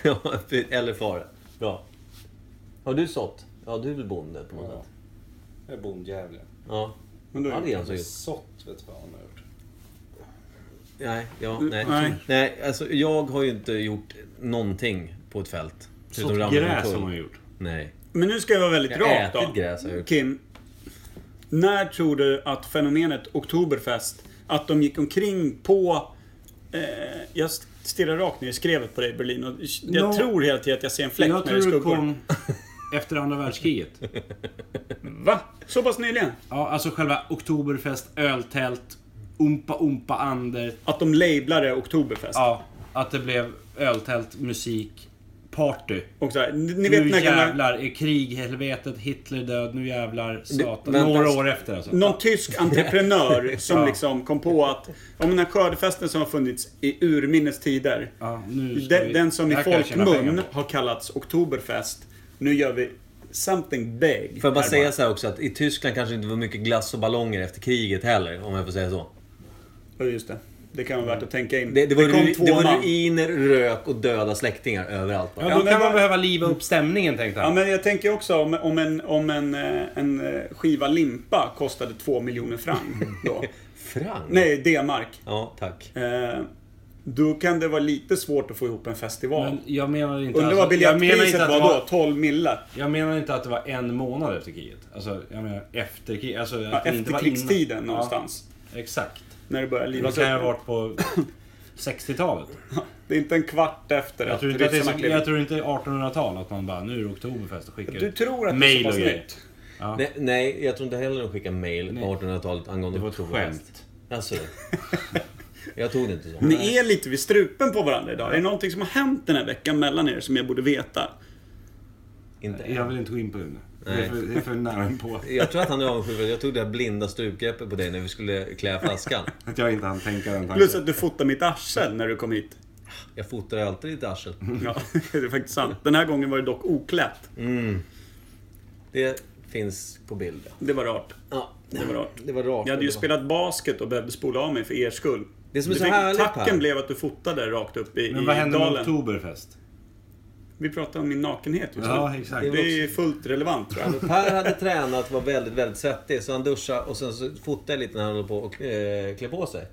ja, eller far. Bra. Har du sått? Ja, du är väl bonde på något
Ja.
sätt?
Jag
Alltså,
är bondjävel.
Ja.
Men då
Ja,
är
det är alltså
det
han som har gjort.
Sått vet fan vad han har gjort.
Nej, ja, nej.
Nej.
nej. alltså jag har ju inte gjort någonting på ett fält. Förutom
Sått
ramla
gräs
omkull.
har man gjort.
Nej.
Men nu ska jag vara väldigt
Jag har
rak
ätit
då.
gräs har jag gjort.
Kim, när tror du att fenomenet Oktoberfest, att de gick omkring på... Eh, jag stirrar rakt ner i skrevet på dig Berlin och jag
No.
tror helt enkelt att jag ser en fläck
Jag
när du
tror det
skuggor.
kom efter andra världskriget.
Va? Så pass nyligen?
Ja, alltså själva Oktoberfest, öltält, Umpa Umpa Ander.
Att de lablade Oktoberfest?
Ja, att det blev öltält, musik, party.
Och så här, ni, ni vet
Nu
när gamla,
jävlar är krig, helvetet, Hitler död, nu jävlar, satan.
vänta.
Några år efter alltså.
någon tysk entreprenör som liksom kom på att, om den här skördefesten som har funnits i urminnes tider,
Ja, nu ska
Den,
vi-
den som
det
i
här kan jag tjäna
folkmun
pengar på.
har kallats Oktoberfest. Nu gör vi something big.
Får jag bara
här
säga så här också att i Tyskland kanske det inte var mycket glass och ballonger efter kriget heller, om jag får säga så.
Ja, just det. Det kan vara värt att tänka in.
Det, det, var,
kom
ru,
två
det var
man.
ruiner, rök och döda släktingar överallt. Bara.
Ja, då
men
kan man
vad-
behöva liva upp stämningen tänkte
Ja,
han.
men jag tänker också om, om, en, om en, eh, en eh, skiva limpa kostade två miljoner franc då.
Frank?
Nej, D-mark.
Ja, tack.
Eh, då kan det vara lite svårt att få ihop en festival.
Men jag menar inte...
Undrar vad
alltså- jag menar
biljettpriset
inte att
var
det
då? 12 millar?
Jag menar inte att det var en månad efter kriget. Alltså, jag menar efter kriget. Alltså,
Ja,
att det inte var
efterkrigstiden
innan.
någonstans.
Ja, exakt.
När det börjar
Det
livas
kan ju ha
upp.
varit på 60-talet.
Det är inte en kvart efter
Jag
att
tror inte att det är
ryssarna
så,
klev in.
jag tror inte 1800-tal att man bara, nu är det Oktoberfest och skickar
Du
ut.
tror att det är
Mail
så pass
och grejer.
nytt?
Ja.
Nej, nej, jag tror inte heller de skickade mail
Nej.
på 1800-talet angående
Det var ett
Oktoberfest.
skämt.
Alltså, jag tog det inte så.
Ni är lite vid strupen på varandra idag. Är det någonting som har hänt den här veckan mellan er som jag borde veta?
Inte
Jag vill inte gå in på det nu. Det är för, det är för nära inpå.
Jag tror att han är avundsjuk för att jag tog det där blinda strupgreppet på dig när vi skulle klä flaskan.
Att jag inte hann tänka den
Plus
tanken.
att du fotade mitt arsel när du kom hit.
Jag fotar ju alltid ditt arsel.
Ja, det är faktiskt sant. Den här gången var det dock oklätt.
Mm.
Det finns på bild.
Det var rart.
Ja,
Det var rart.
det var rakt.
Jag hade ju
Det var-
spelat basket och behövde spola av mig för er skull.
Det som är
Du
så
fick-
härligt, Per.
Tacken blev att du fotade rakt upp i,
Men vad
i
hände med
dalen.
Oktoberfest?
Vi pratade om min nakenhet just nu.
Ja, exakt.
Det är fullt relevant tror jag.
Per hade tränat, var väldigt, väldigt svettig. Så han duschade och sen så fotade jag lite när han höll på och eh, klä på sig.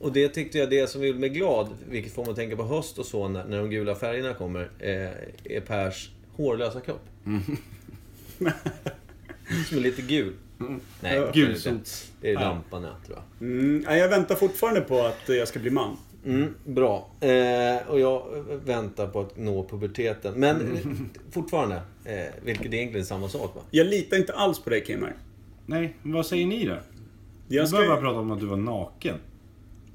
Och det tyckte jag, det som gjorde mig glad, vilket får mig att tänka på höst och så, när, när de gula färgerna kommer, eh, är Pers hårlösa kropp. Som är lite gul. Nej, det är det inte.
Gulsots.
Det är lampan, Mm. ja, tror jag.
Mm, nej, jag väntar fortfarande på att eh, jag ska bli man.
Mm, bra. Eh, och jag väntar på att nå puberteten. Men eh, fortfarande, eh, vilket är egentligen samma sak va?
Jag litar inte alls på dig Kimmer.
Nej, men vad säger ni då?
Jag
Jag
ska-
ska... bara prata om att du var naken.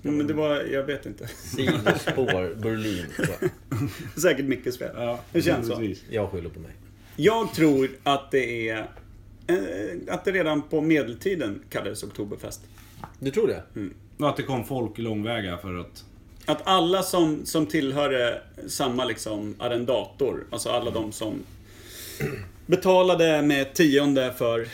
Ja, men det var, jag vet inte.
Sidospår, Berlin. tror jag.
Säkert mycket fel. det känns så.
precis.
Jag skyller på mig.
Jag tror att det är... eh, Att det redan på medeltiden kallades Oktoberfest.
Du tror det?
Och att det kom folk långväga för att...
Att alla som, som tillhörde samma liksom arrendator, alltså alla de som betalade med tionde för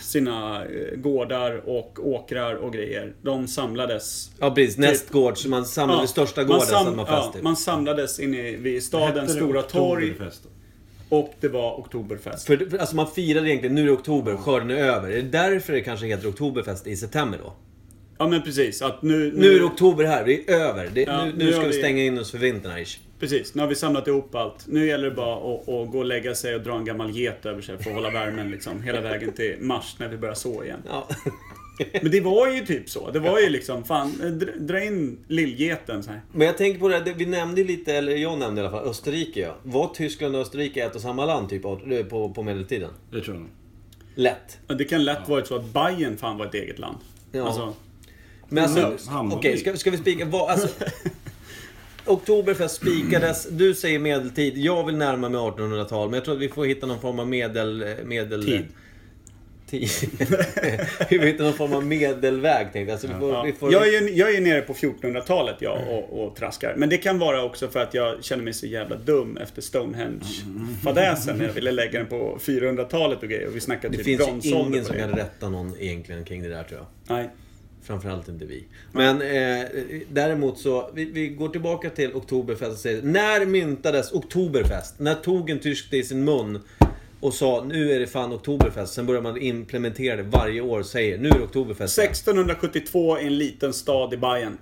sina eh, gårdar och åkrar och grejer. De samlades
Ja precis, nästgård. Så man samlar det största gården så att man
ja,
fest typ.
man samlades inne i- vid
Hette
stadens
det
stora torg
Oktoberfest då?
och det var Oktoberfest.
för, för, alltså man firar egentligen, nu är det oktober, skörden är över. Är det därför det kanske heter oktoberfest i september då?
Ja men precis, att nu...
Nu är det oktober här, det är över. Det,
Mm. Ja,
nu,
nu
nu
har
ska vi
vi-
stänga in oss för vintern här ish.
Precis, nu har vi samlat ihop allt. Nu gäller det bara att, att gå och lägga sig och dra en gammal get över sig för att hålla värmen liksom hela vägen till mars när vi börjar så igen.
Ja.
Men det var ju typ så. Det var ju liksom, fan, eh, dra- dra in lillgeten så här.
Men jag tänker på det, här, det- vi nämnde ju lite, eller jag nämnde i alla fall, Österrike ja. Var Tyskland och Österrike ett och samma land typ av- på, på medeltiden?
Det tror jag nog.
Lätt.
Ja, Det kan lätt varit så att Bayern fan var ett eget land.
Ja.
Alltså,
Men alltså,
Hammarby. Hammarby.
okej, ska, ska vi spika? Vad, alltså, Oktoberfest spikades, du säger medeltid, jag vill närma mig 1800-tal, men jag tror att vi får hitta någon form av medel... eh, medel
Tid.
Tid. vi får hitta någon form av medelväg, tänkte jag. Alltså, vi får,
ja.
vi får, Mm.
jag, är ju, jag är ju nere på 1400-talet jag och, och traskar. Men det kan vara också för att jag känner mig så jävla dum efter Stonehenge-fadäsen. när Jag ville lägga den på 400-talet och grejer. Och vi snackade
det
typ
finns ju
bronsålder
ingen
på
som
det.
kan rätta någon egentligen kring det där, tror jag.
Nej.
Framförallt inte vi. Men eh, däremot så, vi, vi går tillbaka till Oktoberfest och säger, när myntades Oktoberfest? När tog en tysk det i sin mun och sa, nu är det fan Oktoberfest? Sen börjar man implementera det varje år och säger, nu är det Oktoberfest.
1672 i en liten stad i Bayern.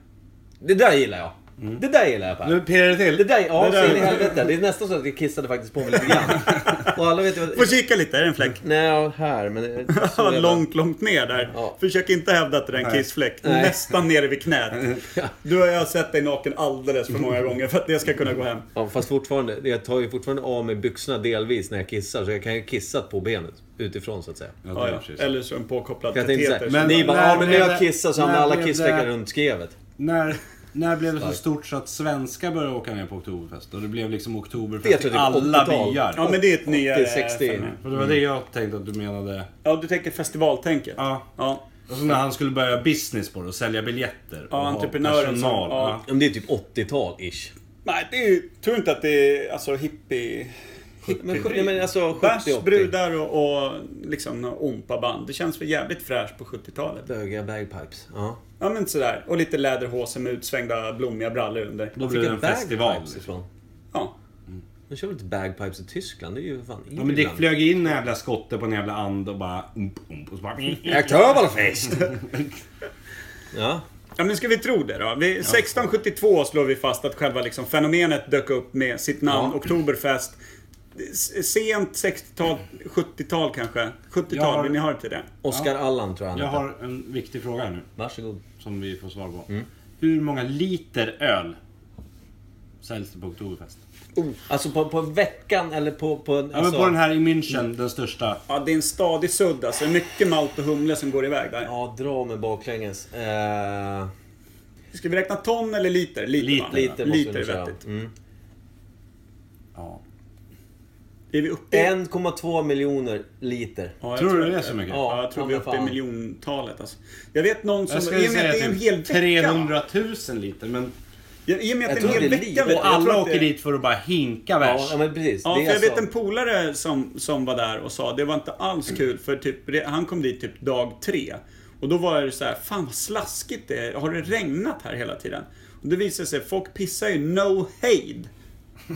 Det där gillar jag. Det där gillar jag Per.
Mm. Nu pirrar det
Det
till.
där, ja,
Det där-
så in i helvete. Det är nästan så att jag kissade faktiskt på mig lite grann. Och alla vet ju
Får
vad...
kika lite, är det en fläck?
Nej, ja, här, men... det är så jävla-
långt, långt ner där.
Ja.
Försök inte hävda att det är en kissfläck.
Nej.
Nästan nere vid knät. Du har jag sett dig naken alldeles för många gånger för att det ska kunna gå hem.
Ja, fast fortfarande. Jag tar ju fortfarande av mig byxorna delvis när jag kissar. Så jag kan ju kissa på benet utifrån så att säga.
Ja, det
Ja,
är
ja.
precis.
Eller så en påkopplad
Jag tänkte
kateter.
såhär,
Men-
ni bara
när
ja men när
blev
jag
det-
kissar så hamnar
när
alla
blev
kissfläckar
det-
runt skrevet.
När, när blev det så
Starkt.
stort så att svenskar började åka ner på Oktoberfest? Och det blev liksom
Det
Oktoberfest
tror
i
jag typ
alla
80-tal.
byar?
Ja, men det är ett nyare
60.
fenomen.
För det var det jag tänkte att du menade.
Ja, du tänker festivaltänket.
Ja.
Ja.
Och så när han skulle börja business på det och sälja biljetter. och ha
entreprenören som-
personal.
ja.
Ja, men det är typ 80-tal-ish.
Nej, det är ju... Tror inte att det är alltså hippie...
Men, sj- nej, men alltså 70-80.
Bärs, brudar och, och liksom ompaband. Det känns väl jävligt fräscht på 70-talet.
Bögiga bagpipes. Ja.
Ja men sådär. Och lite läderhosen med utsvängda blommiga brallor under.
Då
Var
blev
fick
det
jag
en festival. liksom.
bagpipes ifrån?
Ja.
De kör väl inte bagpipes i Tyskland? Det är ju för fan
Ja, men det flög in en jävla skotte på en jävla and och bara... Ump, ump, och så bara...
Oktoberfest! ja.
Ja men ska vi tro det då? Vi, 1672 slår vi fast att själva liksom fenomenet dök upp med sitt namn Oktoberfest. S- Sent 60-tal, 70-tal kanske? 70-tal,
Jag har-
vill ni ha det till det?
Oscar Allan tror jag han
Jag
heter.
har en viktig fråga här nu.
Varsågod.
Som vi får svar på.
Mm.
Hur många liter öl säljs det på Oktoberfest?
Alltså på, på veckan eller på... på, en-
Ja, men
alltså,
på den här i München, den största.
Ja, det är en stadig sudd alltså. Det är Mycket malt och humle som går iväg där.
Ja, dra mig baklänges. Eh,
Ska vi räkna ton eller liter? Liter, va?
lite
Liter.
måste
liter
vi
är
nog köra.
vettigt.
Mm.
Ja.
Är vi uppe i...
1,2 miljoner liter.
Ja, jag
Tror du
att
det är så mycket?
Ja, jag tror
Ja,
vi är
men
uppe i
fan.
miljontalet alltså. Jag vet någon som...
Jag
I
skulle
och med
säga
att det är en hel
typ
vecka.
300 000 liter, men...
Ja, I och med att
Jag
det är en hel
tror det är
vecka.
lite.
vet du,
Och
jag tror
alla
att
åker
det-
dit för att bara hinka
Ja,
bärs.
ja, men precis.
Ja, för
det är
jag vet
alltså-
en polare som, som var där och sa det var inte
Mm.
alls kul för typ, det- han kom dit typ dag tre. Och då var det så här, fan vad slaskigt det är. Har det regnat här hela tiden? Och det visade sig, folk pissar ju no hejd.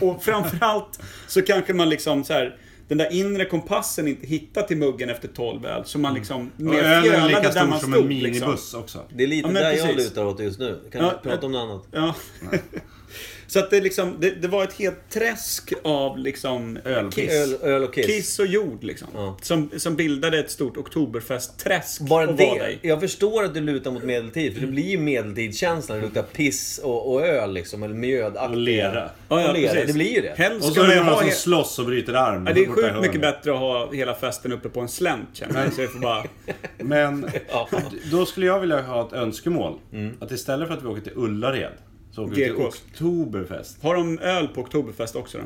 Och framförallt så kanske man liksom så här, den där inre kompassen inte hittar till muggen efter tolv öl. Så man liksom
Mm. Och
mer
ölen är lika
fjölade där
stor
man
som en
stod.
minibuss
Liksom.
också.
Det är lite
Ja, men
där jag
precis.
lutar åt just nu. Kan
Ja,
vi prata om något annat?
Ja. så att det liksom, det, det var ett helt träsk av liksom
Öl.
kiss.
Öl, öl och kiss.
Kiss och jord liksom.
Ja.
Som, som bildade ett stort oktoberfestträsk
Bara
och Mm. var
det.
där.
Jag förstår att du lutar mot medeltid, för det blir ju medeltidskänslan. Det luktar piss och, och öl liksom, eller mjödaktigt.
Och lera.
Ja, ja,
och lera.
precis.
Det blir ju det.
Helst
Och så är
skulle
det
jag
några
ha...
som
he-
slåss och bryter arm.
Ja, det är
borta i
sjukt
hörnet.
mycket bättre att ha hela festen uppe på en slänt känner jag. Så jag får bara...
Men
Ja.
då skulle jag vilja ha ett önskemål. Att istället för att vi åker till Ullared så åker vi till
GK.
Oktoberfest.
Har de öl på oktoberfest också då?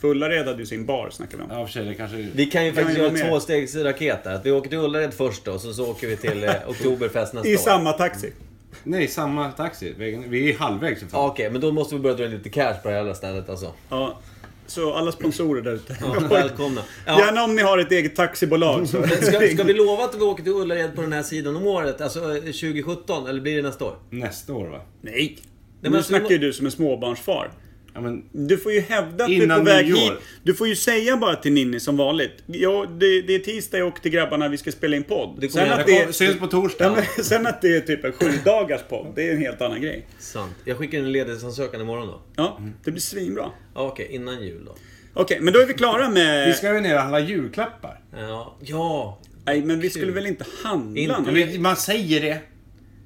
För Ullared hade ju sin bar snackar vi om.
Ja, i och för sig, det kanske...
Vi kan ju faktiskt
jag är
göra en
med.
tvåstegsraket där. Att vi åker till Ullared först då, och så, så åker vi till eh, Oktoberfest nästa
I
år.
samma taxi.
Mm.
Nej, samma taxi. Vägen- Vi är halvvägs för fan.
Ja, Okej, men då måste vi börja dra in lite cash på det här jävla stället alltså.
Ja. Så alla sponsorer där ute.
Ja, välkomna. Ja.
Gärna om ni har ett eget taxibolag. Så.
men Ska, ska vi lova att vi åker till Ullared på den här sidan om året? Alltså eh, 2017, eller blir det nästa år?
Nästa år va?
Nej.
men
Nu
alltså, vi må-
snackar ju du som en småbarnsfar.
Ja, men...
Du får ju hävda att du är
Innan
på väg
nyår.
hit. Du får ju säga bara till Ninni som vanligt. Ja, det, det är tisdag jag åker till grabbarna, vi ska spela in podd.
Det
Sen
kommer-
att
Det
det,
kom, syns på torsdag.
ja, men, sen att det är typ en sju dagars podd, det är en helt annan grej.
Sant. Jag skickar in en ledighetsansökan imorgon då.
Ja, det blir svinbra.
Ja, Okej, innan jul då.
Okej, men då är vi klara med...
Vi ska ju ner och handla julklappar.
Ja, ja.
Nej, men vi skulle väl inte handla
Inte-
något?
Men Man säger det.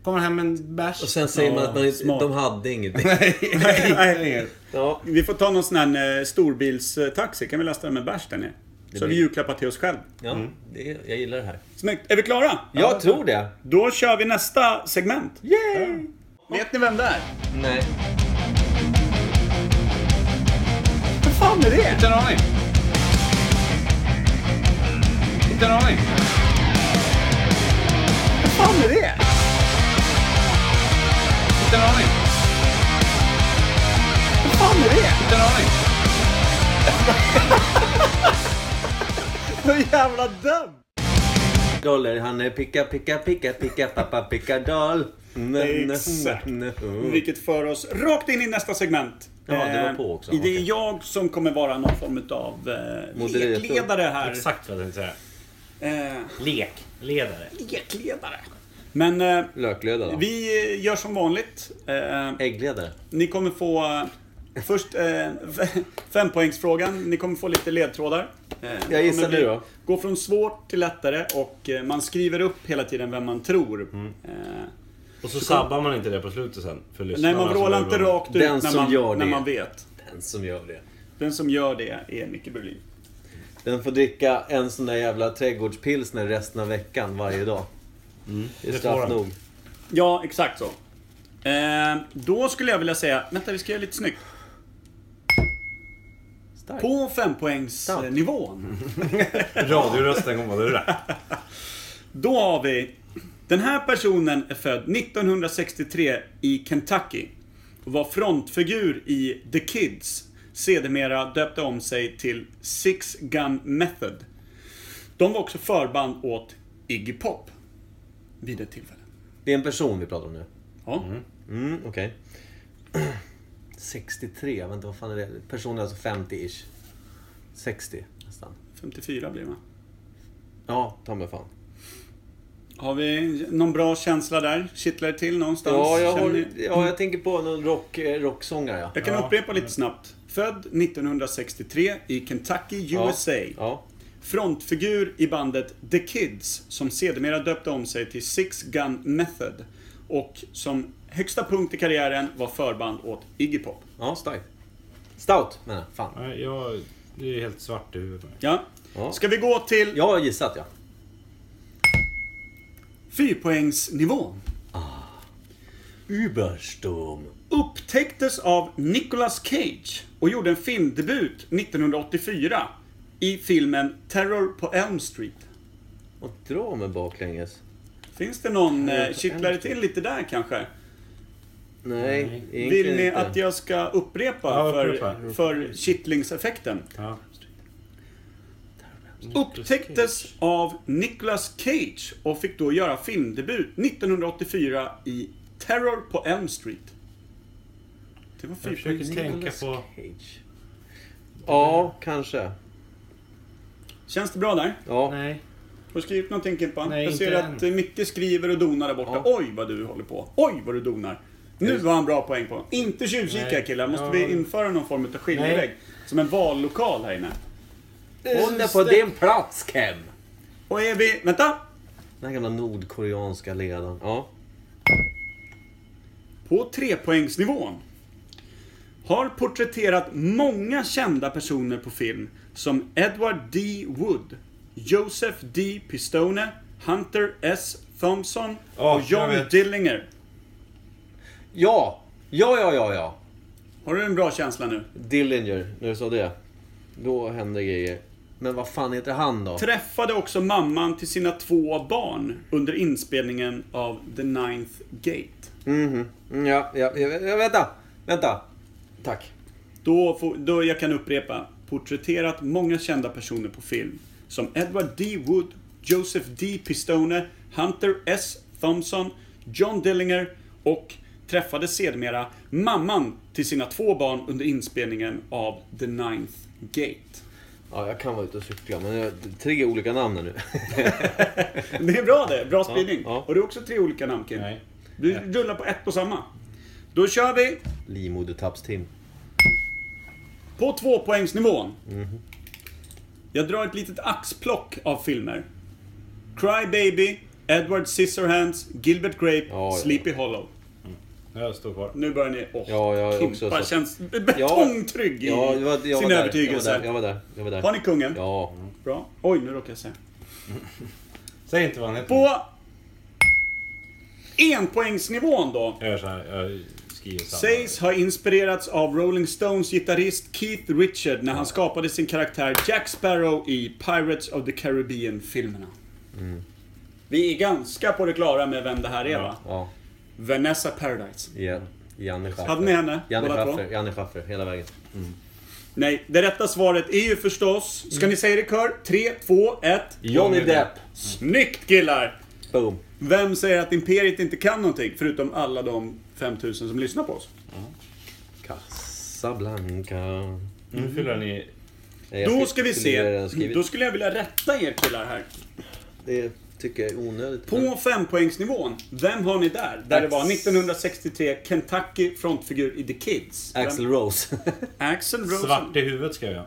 Kommer hem en bärs.
Och sen säger man att man,
smart.
de hade ingenting.
Nej, nej.
Ja.
Vi får ta någon sån här eh, storbilstaxi, kan vi lasta den med bärs där nere? Så har vi julklappar till oss själv.
Ja, det, jag gillar det här.
Snyggt. Är vi klara?
Mm. Jag tror det.
Då kör vi nästa segment.
Yay!
Vet ni vem det är?
Nej.
Vad fan är det?
Inte en aning. Inte en aning.
Vad fan är det?
Inte en aning.
Vad fan är det?
Inte en aning.
Så jävla dum!
Dollar, han är picka, picka, picka, picka, pappa, pickadoll.
Exakt. Vilket för oss rakt in i nästa segment.
Ja, det var på
Eh,
också.
Det är
Okej.
jag som kommer vara någon form av eh,
Moderator.
lekledare här.
Exakt vad jag tänkte säga.
Eh,
Lek. Ledare.
lekledare. Men eh,
Löklöda då.
vi gör som vanligt. Eh,
Äggledare.
Ni kommer få eh, först eh, fempoängsfrågan. Ni kommer få lite ledtrådar. Eh,
Jag gissar
kommer bli-
nu då.
Gå från svårt till lättare och eh, man skriver upp hela tiden vem man tror.
Mm.
Eh,
Och så sabbar man inte det på slutet sen. För
nej,
lyssnarna
man
som
vrålar
är
inte
bra.
rakt ut
Den
när
som
man,
gör
när
det.
man vet.
Den som gör det.
Den som gör det är Micke Berlin.
Den får dricka en sån där jävla trädgårdspilsner resten av veckan varje dag. Mm. Det är
det får
straff
han.
nog.
Ja, exakt så. Eh, då skulle jag vilja säga... Vänta, vi ska göra lite snyggt.
Starkt.
På fempoängsnivån.
Radiorösten kommer vara det där.
Då har vi... Den här personen är född 1963 i Kentucky. Och var frontfigur i The Kids. Sedermera döpte om sig till Six Gun Method. De var också förband åt Iggy Pop. Vid ett tillfälle.
Det är en person vi pratar om nu.
Ja.
Mm, okej. 63, vänta vad fan är det? Personen är alltså 50-ish. 60 nästan.
54 blir man.
Ja, ta mig fan.
Har vi någon bra känsla där? Kittlar det till någonstans?
Ja, jag,
Känner
har,
ni-
ja, jag tänker på någon rock, eh, rocksångare. Ja.
jag kan upprepa lite snabbt. Född 1963 i Kentucky,
Ja.
USA.
Ja.
Frontfigur i bandet The Kids, som sedermera döpte om sig till Six Gun Method. Och som högsta punkt i karriären var förband åt Iggy Pop.
ja, starkt. Stout menar jag. Fan.
Nej, jag... Det är helt svart i huvudet. på mig.
Ja.
Ja.
Ska vi gå till
Jag har gissat ja.
fyrpoängsnivån?
Ubersturm.
Upptäcktes av Nicolas Cage och gjorde en filmdebut 1984 i filmen Terror på Elm Street.
Och dra mig baklänges.
Finns det någon
Terror
eh,
på
kittlare
Elm Street.
till lite där kanske?
Nej, egentligen
Vill ni
inte.
att jag ska upprepa,
Ja,
för,
upprepa.
för kittlingseffekten?
Ja.
Upptäcktes av Nicolas Cage och fick då göra filmdebut 1984 i Terror på Elm Street. Det var
Jag
fyrpoäng.
försöker tänka
Nicolas
på...
Cage. Ja, kanske.
Känns det bra där?
Ja.
Nej.
Har du skrivit någonting Kimpan?
Nej,
Jag ser
inte
att
än.
eh, Micke skriver och donar där borta.
Ja.
Oj vad du håller på. Oj vad du donar. Nu har han bra poäng på. Inte tjuvkika
Nej.
killar. Måste
Ja.
vi införa någon form av skiljevägg? Som en vallokal här inne.
Hon är på din plats, Kem!
Och är vi... Vänta!
Den här gamla nordkoreanska ledaren. Ja.
på trepoängsnivån. Har porträtterat många kända personer på film som Edward D. Wood, Joseph D. Pistone, Hunter S. Thompson
Ja,
och
jag
John
vet.
Dillinger.
Ja! Ja, ja, ja, ja.
Har du en bra känsla nu?
Dillinger, när du sa det. Då hände grejer. Men vad fan heter han då?
Träffade också mamman till sina två barn under inspelningen av The Ninth Gate.
Mm, ja, ja, ja, ja, vänta! Vänta! Tack.
Då, får, då jag kan upprepa. Porträtterat många kända personer på film. Som Edward D. Wood, Joseph D. Pistone, Hunter S. Thompson, John Dillinger och träffade sedermera mamman till sina två barn under inspelningen av The Ninth Gate.
Ja, jag kan vara ute och cykla, men jag, tre olika namn här nu.
Det är bra det, bra spridning.
Ja, ja.
Och det är också tre olika namn Kim.
Nej.
Du rullar på ett och samma. Då kör vi
Livmodertappstim.
På tvåpoängsnivån. Jag drar ett litet axplock av filmer. Cry Baby, Edward Scissorhands, Gilbert Grape,
Ja, ja.
Sleepy Hollow.
Jag står kvar.
Nu börjar ni... Åh,
Ja, jag är
Kimpa
också så-
känns betongtrygg i
Ja, jag var, jag
sin
var där. Jag var
övertygelse.
där. Jag var där. Jag var där.
Har ni kungen?
Ja.
Bra. Oj, nu råkade jag säga.
Säg inte vad han heter.
På enpoängsnivån då.
Jag gör så här. Jag skriver samma.
Sägs ha inspirerats av Rolling Stones gitarrist Keith Richard när han skapade sin karaktär Jack Sparrow i Pirates of the Caribbean-filmerna. Vi är ganska på det klara med vem det här är va?
Mm. Ja.
Vanessa Paradise.
ja. Janne Schaffer.
Hade ni henne?
Janne
båda två?
Schaffer. Janne Schaffer. Hela vägen.
Nej, det rätta svaret är ju förstås... Ska
Mm.
ni säga det i kör? 3, 2, 1.
Johnny Depp.
Snyggt killar!
Boom.
Vem säger att Imperiet inte kan någonting? Förutom alla de 5000 som lyssnar på oss.
Casablanca.
Nu fyller han i...
Nej, Eh, jag
Då
fick-
ska vi
skulle jag redan
se.
skrivit.
Då skulle jag vilja rätta er killar här.
Det är tycker jag är onödigt.
På fempoängsnivån, vem har ni där? Där det var 1963 Kentucky frontfigur i The Kids. Vem-
Axel Rose.
Axel Rosen.
Svart i huvudet ska jag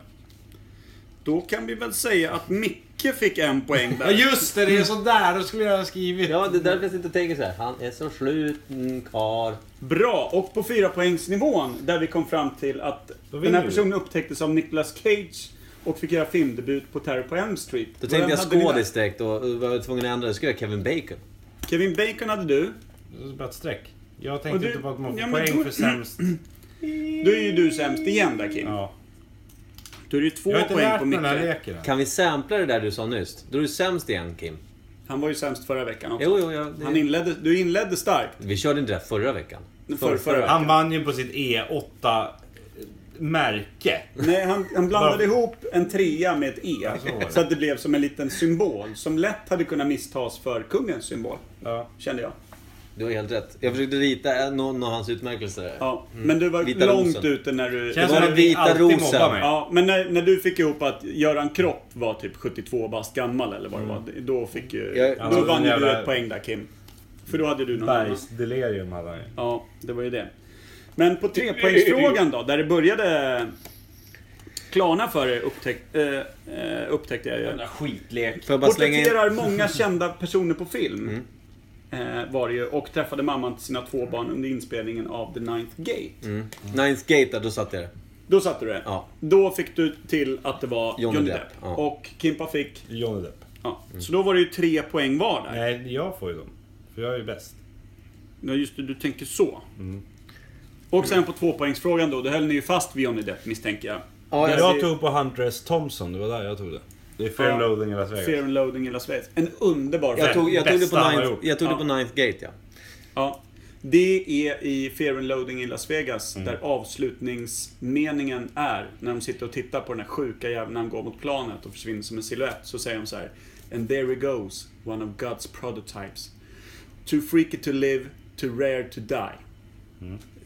Då kan vi väl säga att Micke fick en poäng
Ja
där.
just det, det är sådär. Då skulle jag ha skrivit.
ja, det är därför jag sitter och tänker så här. Han är så mm, sluten karl.
Bra! Och på fyrapoängsnivån, där vi kom fram till att den här
Då vinner vi.
personen upptäcktes av Nicolas Cage och fick göra filmdebut på Terror på Elm Street.
Då tänkte
Vem
jag
hade ni där?
skådis direkt och var jag tvungen att ändra. Då skrev jag Kevin Bacon.
Kevin Bacon hade du.
Det är bara ett streck. Jag
Och
tänkte
du-
inte på att man får
ja, men
poäng
då-
för sämst.
Då är ju du sämst igen där Kim.
Ja.
Då är det ju två
Jag har inte
poäng
lärt
på
mig den här
Micke.
leken än.
Kan vi sampla det där du sa nyss? Då är du sämst igen, Kim.
Han var ju sämst förra veckan också.
Jo, jo, ja, det...
Han inledde, du inledde starkt.
Vi körde inte det här förra veckan.
För, förra, veckan.
Han vann ju på sitt E E8-märke.
Nej, han, han blandade ihop en trea med ett E.
så var det.
Så att det blev som en liten symbol. Som lätt hade kunnat misstas för kungens symbol.
Ja.
Kände jag.
Du har helt rätt. Jag försökte rita en- någon av hans utmärkelser.
Ja. Men du var
Vita
långt
rosen.
ute när du...
Mm. Känns
var
som
den
att vi
vita
alltid
rosen.
mobbar mig.
Ja, men när, när du fick ihop att Göran Kropp var typ 72 bast gammal eller vad det var. Då fick ju...
Jag-
då
Alltså,
vann ju du
Mm. jävla-
ett poäng där Kim. För då hade du någon annan.
Bergsdelirium hade han ju.
Ja, det var ju det. Men på trepoängsfrågan då, där det började klarna för er upptäck, eh, eh, upptäckte jag ju.
Skitlek. Får jag bara slänga in...
Porträtterar många kända personer på film.
Mm.
Eh, var det ju, och träffade mamman till sina två barn under inspelningen av The Ninth Gate.
Ninth Gate, där, då satte jag det.
Då satte du det.
Mm. Ja.
Då fick du till att det var Johnny, Depp.
ja. Mm.
Och Kimpa fick...
Johnny Depp.
Ja. Så då var det ju tre poäng var där.
Nej, jag får ju dem. För jag är ju bäst.
Ja, just det, du tänker så. Och sen på tvåpoängsfrågan då, då höll ni ju fast vid Johnny Depp misstänker jag.
Ja, jag,
Jag tog på Hunter S. Thompson, det var där jag tog det. Det är Fair
Ja.
and Loathing i Las Vegas.
Fear and Loading i Las Vegas. En underbar
jag,
film.
tog, jag, tog det på
Bästa han har
ninth,
gjort.
jag tog det
Ja.
på Ninth Gate, ja.
Ja. Det är i Fear and Loading i Las Vegas,
Mm.
där avslutningsmeningen är, när de sitter och tittar på den här sjuka jäveln när han går mot planet och försvinner som en silhuett, så säger de så här And there he goes, one of God's prototypes. Too freaky to live, too rare to die.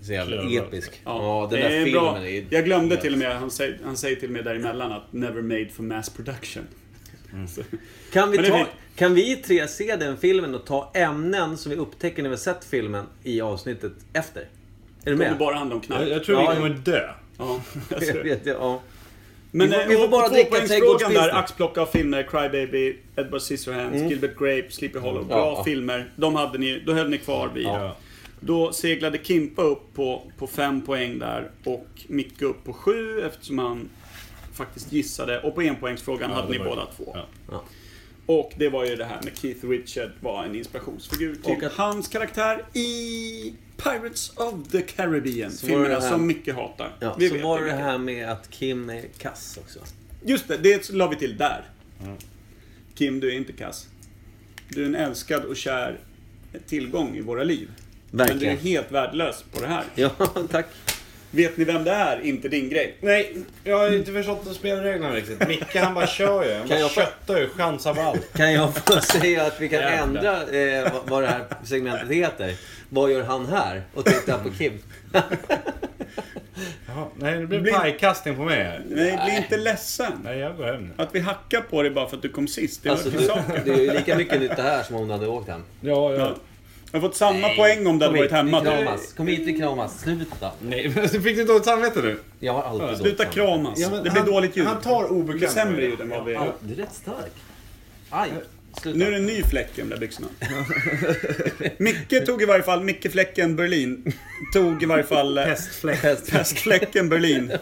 Så jävla
Jävla bra.
episk. Ja, den där
det är
filmen
bra.
är ju...
Jag glömde till och med, han säger, han säger till och med däremellan att Never made for mass production.
Mm.
Så, Men
Kan vi,
det
ta,
fick-
kan vi tre se den filmen och ta ämnen som vi upptäcker när vi har sett filmen i avsnittet efter? Är
det
du
kommer
med?
bara handla om
Jag,
knark.
jag tror
Ja,
vi kommer dö.
Ja, jag
Jag
ser.
vet, ja.
Men
Vi får-
eh,
vi får
och
bara
på
dricka
tvåpoängsfrågan
trädgårdspilsner.
där, axplock av filmer, Crybaby, Edward Scissorhands, Gilbert Grape, Sleepy Hollow. Bra
Mm. Ja.
filmer. De hade ni, då höll ni kvar vid.
Ja.
Då seglade Kimpa upp på, på fem poäng där och Micke upp på sju eftersom han faktiskt gissade. Och på enpoängsfrågan hade
det
ni
var ju-
båda två.
Ja.
Ja.
Och det var ju det här med Keith Richard var en inspirationsfigur till
Och att-
hans karaktär i Pirates of the Caribbean.
var det
Filmerna
det här-
som Micke hatar.
Ja,
Vi
så
vet
var
det,
det
Micke.
här med att Kim är kass också.
Just det, det la vi till där. Kim, du är inte kass. Du är en älskad och kär tillgång i våra liv. Men du är
Verkligen.
helt värdelös på det här.
Ja, tack.
Vet ni vem det är? Inte din grej.
Nej, jag har inte förstått spelreglerna riktigt. Micke han bara kör ju. Han
Kan
bara
jag få-
köttar ju, chansar på allt.
Kan jag få säga att vi kan
Jävlar.
ändra eh, vad- vad det här segmentet heter? Vad gör han här? Och titta på Kim.
Jaha, nej, det blev
Blir-
pajkastning på mig här.
Nej, bli inte ledsen.
Nej, jag går hem nu.
Att vi hackar på dig bara för att du kom sist, det
Alltså,
hör till
du,
saken.
det är ju lika mycket nytta här som om du hade åkt hem.
Ja, ja.
Ja. Jag har fått samma poäng om du hade
Kom
varit
hit,
hemma.
vi
Du,
kramas. Kom hit, vi kramas. Sluta.
Nej, men fick du dåligt samvete nu?
Jag har alltid dåligt
sluta
samvete.
kramas.
Ja, men
det blir
han-
dåligt ljud.
han tar obekvämt.
Det blir sämre ljud än vad vi...
Ja, du är rätt stark. Aj, sluta.
Eh, Nu är det en ny fläck i de där byxorna. Micke tog i varje fall, Micke Fläcken Berlin, tog i varje fall... eh,
Häst.
Pestfläcken Berlin.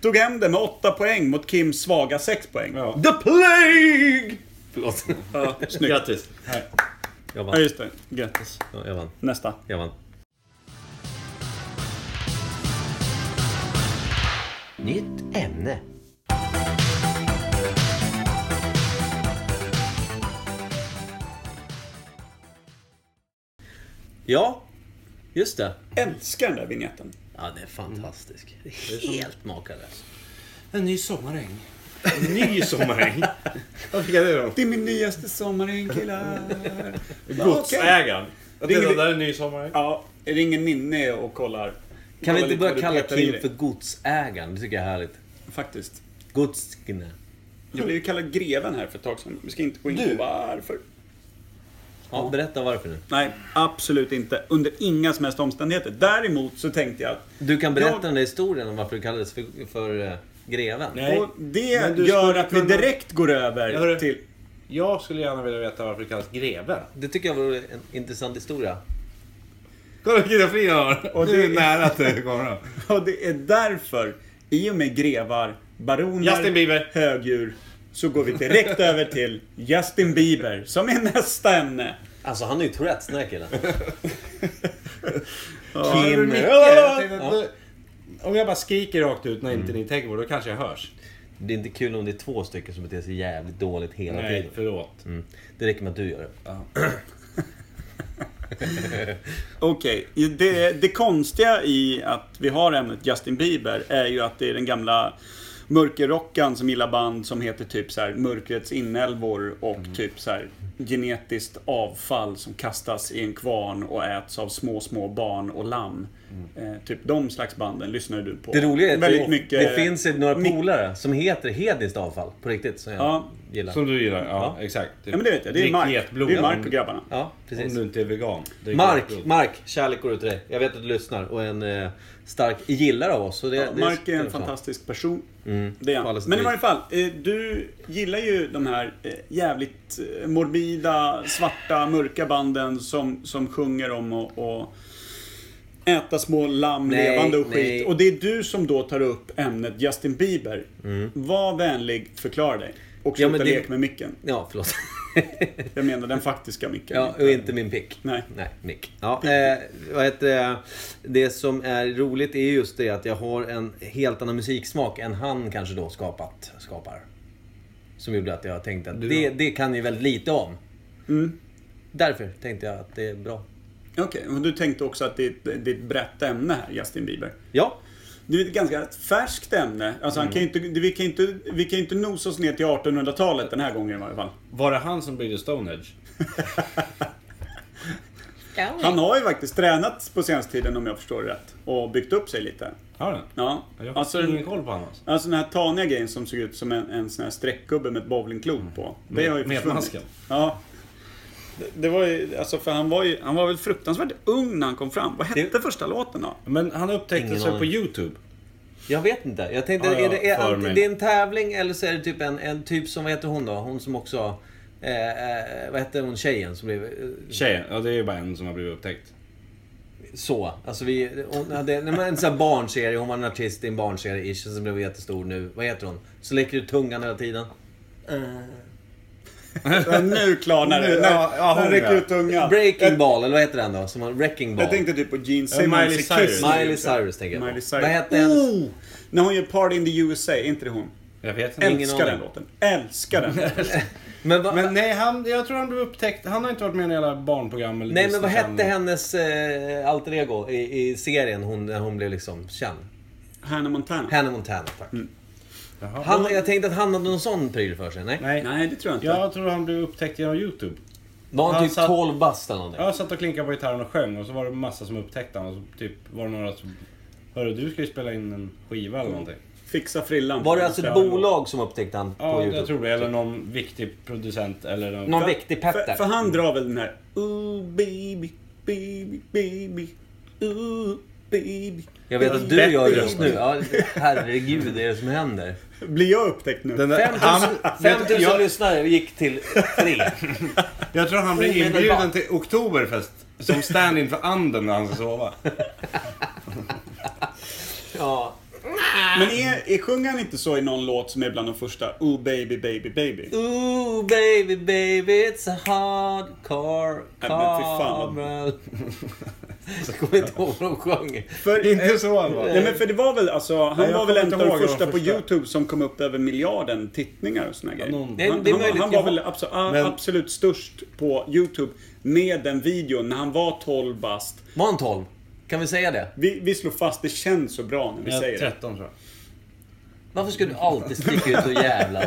Tog hem det med 8 poäng mot Kims svaga 6 poäng.
Ja.
The Plague! Förlåt.
Ja, snyggt.
Grattis. Nej.
Jag
Ja,
vann.
just det. Grattis.
Ja, jag vann.
Nästa.
Jag vann. Nytt ämne. Ja, just det.
Älskar den där vignetten.
Ja, den är fantastisk.
Mm.
Helt makalös.
En ny sommaräng. En ny sommaräng? Vad fick jag det då?
Det är min nyaste sommaräng killar.
Godsägaren. Jag
Det är
tänkte
ingen-
att det där är en ny sommaräng.
Ja, ringer Ninne och kollar.
Kan
Kollar
vi inte
lite
börja
vad du
kalla
petar i
Kim
dig.
för godsägaren? Det tycker jag är härligt.
Faktiskt.
Godskne.
Jag blev ju kallad greven här för ett tag sedan. Vi ska inte gå in på varför.
Ja, berätta varför nu.
Nej, absolut inte. Under inga som helst omständigheter. Däremot så tänkte jag att...
Du kan berätta
Jag-
den där historien om varför du kallades för, för eh, greven.
Nej.
Och
Men
det
du
gör
skulle
att vi
kunna-
direkt går över
Ja, hörru.
till...
Jag skulle gärna vilja veta varför det kallas greve.
Det tycker jag vore en intressant historia.
Kolla vilken fri jag har!
Och
Och
det-
det är nära att det kommer.
Och det är därför, i och med grevar, baroner,
Justin Bieber.
högdjur, så går vi direkt över till Justin Bieber, som är nästa ämne.
Alltså han är ju Tourettes den här killen.
Kim. Jag tänkte att du- Om jag bara skriker rakt ut när inte ni tänker på det, då kanske jag hörs.
Det är inte kul om det är två stycken som beter sig jävligt dåligt hela
Nej,
tiden.
förlåt.
Mm. Det räcker med att du gör det.
Okej, det, det konstiga i att vi har ämnet Justin Bieber är ju att det är den gamla mörkerrockaren som gillar band som heter typ så här Mörkrets inälvor och
Mm.
typ så här genetiskt avfall som kastas i en kvarn och äts av små, små barn och lamm. Eh, typ de slags banden lyssnar ju du på.
Mm. Det roliga är att
Väldigt
det,
mycket,
det finns ju några
my-
polare som heter hedniskt avfall på riktigt. Som jag
Ja.
gillar.
Som du gillar, ja,
Mm. Ja.
exakt.
Ja men det vet jag, det är
Drick
Mark.
getblod
Det är
om-
Mark och grabbarna.
Ja,
Om
precis.
du inte är vegan. Drick
Mark,
getblod.
Mark, kärlek går ut till dig. Jag vet att du lyssnar och är en eh, stark gillare av oss. Så det,
Ja,
det
Mark är en
fan.
fantastisk person. Det är
på alla
han.
sätt och
Men i
vis.
varje fall, eh, du gillar ju de här eh, jävligt eh, morbida, svarta, mörka banden som, som sjunger om och, och äta små lamm
Nej,
levande och skit.
nej.
Och det är du som då tar upp ämnet Justin Bieber. Var vänlig, förklara dig. Och
Mm. Ja,
sluta
men det-
lek med micken.
Ja, förlåt.
Jag menar den faktiska micken.
Ja, och inte min pick.
Nej.
Nej, mick. Ja, eh, vad heter det? det som är roligt är just det att jag har en helt annan musiksmak än han kanske då skapat, skapar. Som gjorde att jag tänkte att det, det kan ju väldigt lite om.
Mm.
Därför tänkte jag att det är bra.
Okej, och du tänkte också att det är ett, det är ett brett ämne här, Justin Bieber.
Ja,
Det är ett ganska färskt ämne. Alltså, han kan ju inte,
Mm.
det- vi, kan ju inte, vi kan ju inte nosa oss ner till 1800-talet den här gången i varje fall.
Var det han som byggde Stonehenge?
Han har ju faktiskt tränat på senaste tiden om jag förstår det rätt. Och byggt upp sig lite.
Har den?
Ja.
Jag har
Alltså,
ingen koll på honom. Alltså.
alltså den här taniga grejen som såg ut som en, en sån här streckgubbe med ett bowlingklot på. Det har ju
Mm. Med
försvunnit.
masken.
Ja. Det, det var ju, alltså för han var ju, han var väl fruktansvärt ung när han kom fram. Vad hette första låten då?
Men han upptäckte
Ingen
sig på
aning.
YouTube.
jag vet inte. Jag tänkte,
Ja, ja,
är det, är
för mig.
alltid, det är en tävling eller så är det typ en, en typ som, vad heter hon då? Hon som också... Eh, eh, vad hette hon tjejen som blev... eh,
Tjejen, ja det är ju bara en som har blivit upptäckt.
Så. Alltså vi, hon hade när man, en sån här barnserie. Hon var en artist i en barnserie ish som blev jättestor nu. Vad heter hon? Så läcker ut tungan hela tiden.
Ja, nu klarnar det.
Nu,
När-
ja,
när
ja,
han
hon,
räcker
ja.
ut tungan.
Breaking ball, eller vad heter den då? Som har, wrecking ball.
Jag tänkte typ på Gene Simmons
Miley
i
Cyrus.
Kiss.
Miley Cyrus tänker jag på.
Miley Cyrus.
Vad hette hennes...
Oh! När hon gör Party in the USA, är inte det hon?
Jag vet inte.
Ingen
Älskar den
aning.
låten. Älskar den.
Men, va,
Men nej, han, jag tror han blev upptäckt. Han har inte varit med i några jävla barnprogram eller
nej men vad
Disney-program.
hette hennes eh, alter ego i, i serien hon, när hon blev liksom känd?
Hannah Montana.
Hannah Montana, tack.
Mm.
Jaha.
Han, jag tänkte att han hade någon sån pryl för sig. Nej.
Nej.
Nej, det tror jag inte.
Jag tror han blev upptäckt genom YouTube.
Var han,
Han
typ
satt-
12 bast eller någonting?
Jag satt och klinkade på gitarren och sjöng och så var det massa som upptäckte honom. Och så typ var det några som... Hörru, du ska ju spela in en skiva eller någonting.
Fixa frillan.
Var det alltså ett bolag som upptäckte han på
Ja,
Youtube?
jag tror det. Eller någon viktig producent eller någon...
Någon
För-
viktig Petter.
För, för han drar väl den här Ooh baby, baby, baby, ooh baby.
Jag vet att du
Bättre
gör det
gör
just
man.
nu. Ja, herregud, det är det som händer.
Blir jag upptäckt nu?
Den där-
5 000,
han- vet du, jag-
lyssnare gick till tre.
Jag tror han blev
Omedelbart.
inbjuden till Oktoberfest. Som stand-in för anden när han ska sova.
Ja.
Men är, är, sjunger han inte så i någon låt som är bland de första? Ooh baby, baby, baby.
Ooh baby baby it's a hard car
Nej, men fy fan,
car Så kommer jag inte ihåg vad de sjöng.
För,
Inte så han
Nej men för det var väl alltså, han
Nej, jag
var väl
kommer
en
inte
av de
ihåg de
första på
första.
Youtube som kom upp över miljarden tittningar och såna grejer.
någon-
Det-
han,
det är
han,
möjligt,
han var
jag-
väl absolut,
Men-
absolut störst på Youtube med den videon när han var 12 bast.
Var han 12? Kan vi säga det?
Vi, vi slår fast, det känns så bra när vi säger det.
13 tror jag.
Varför ska du alltid sticka ut och jävlas?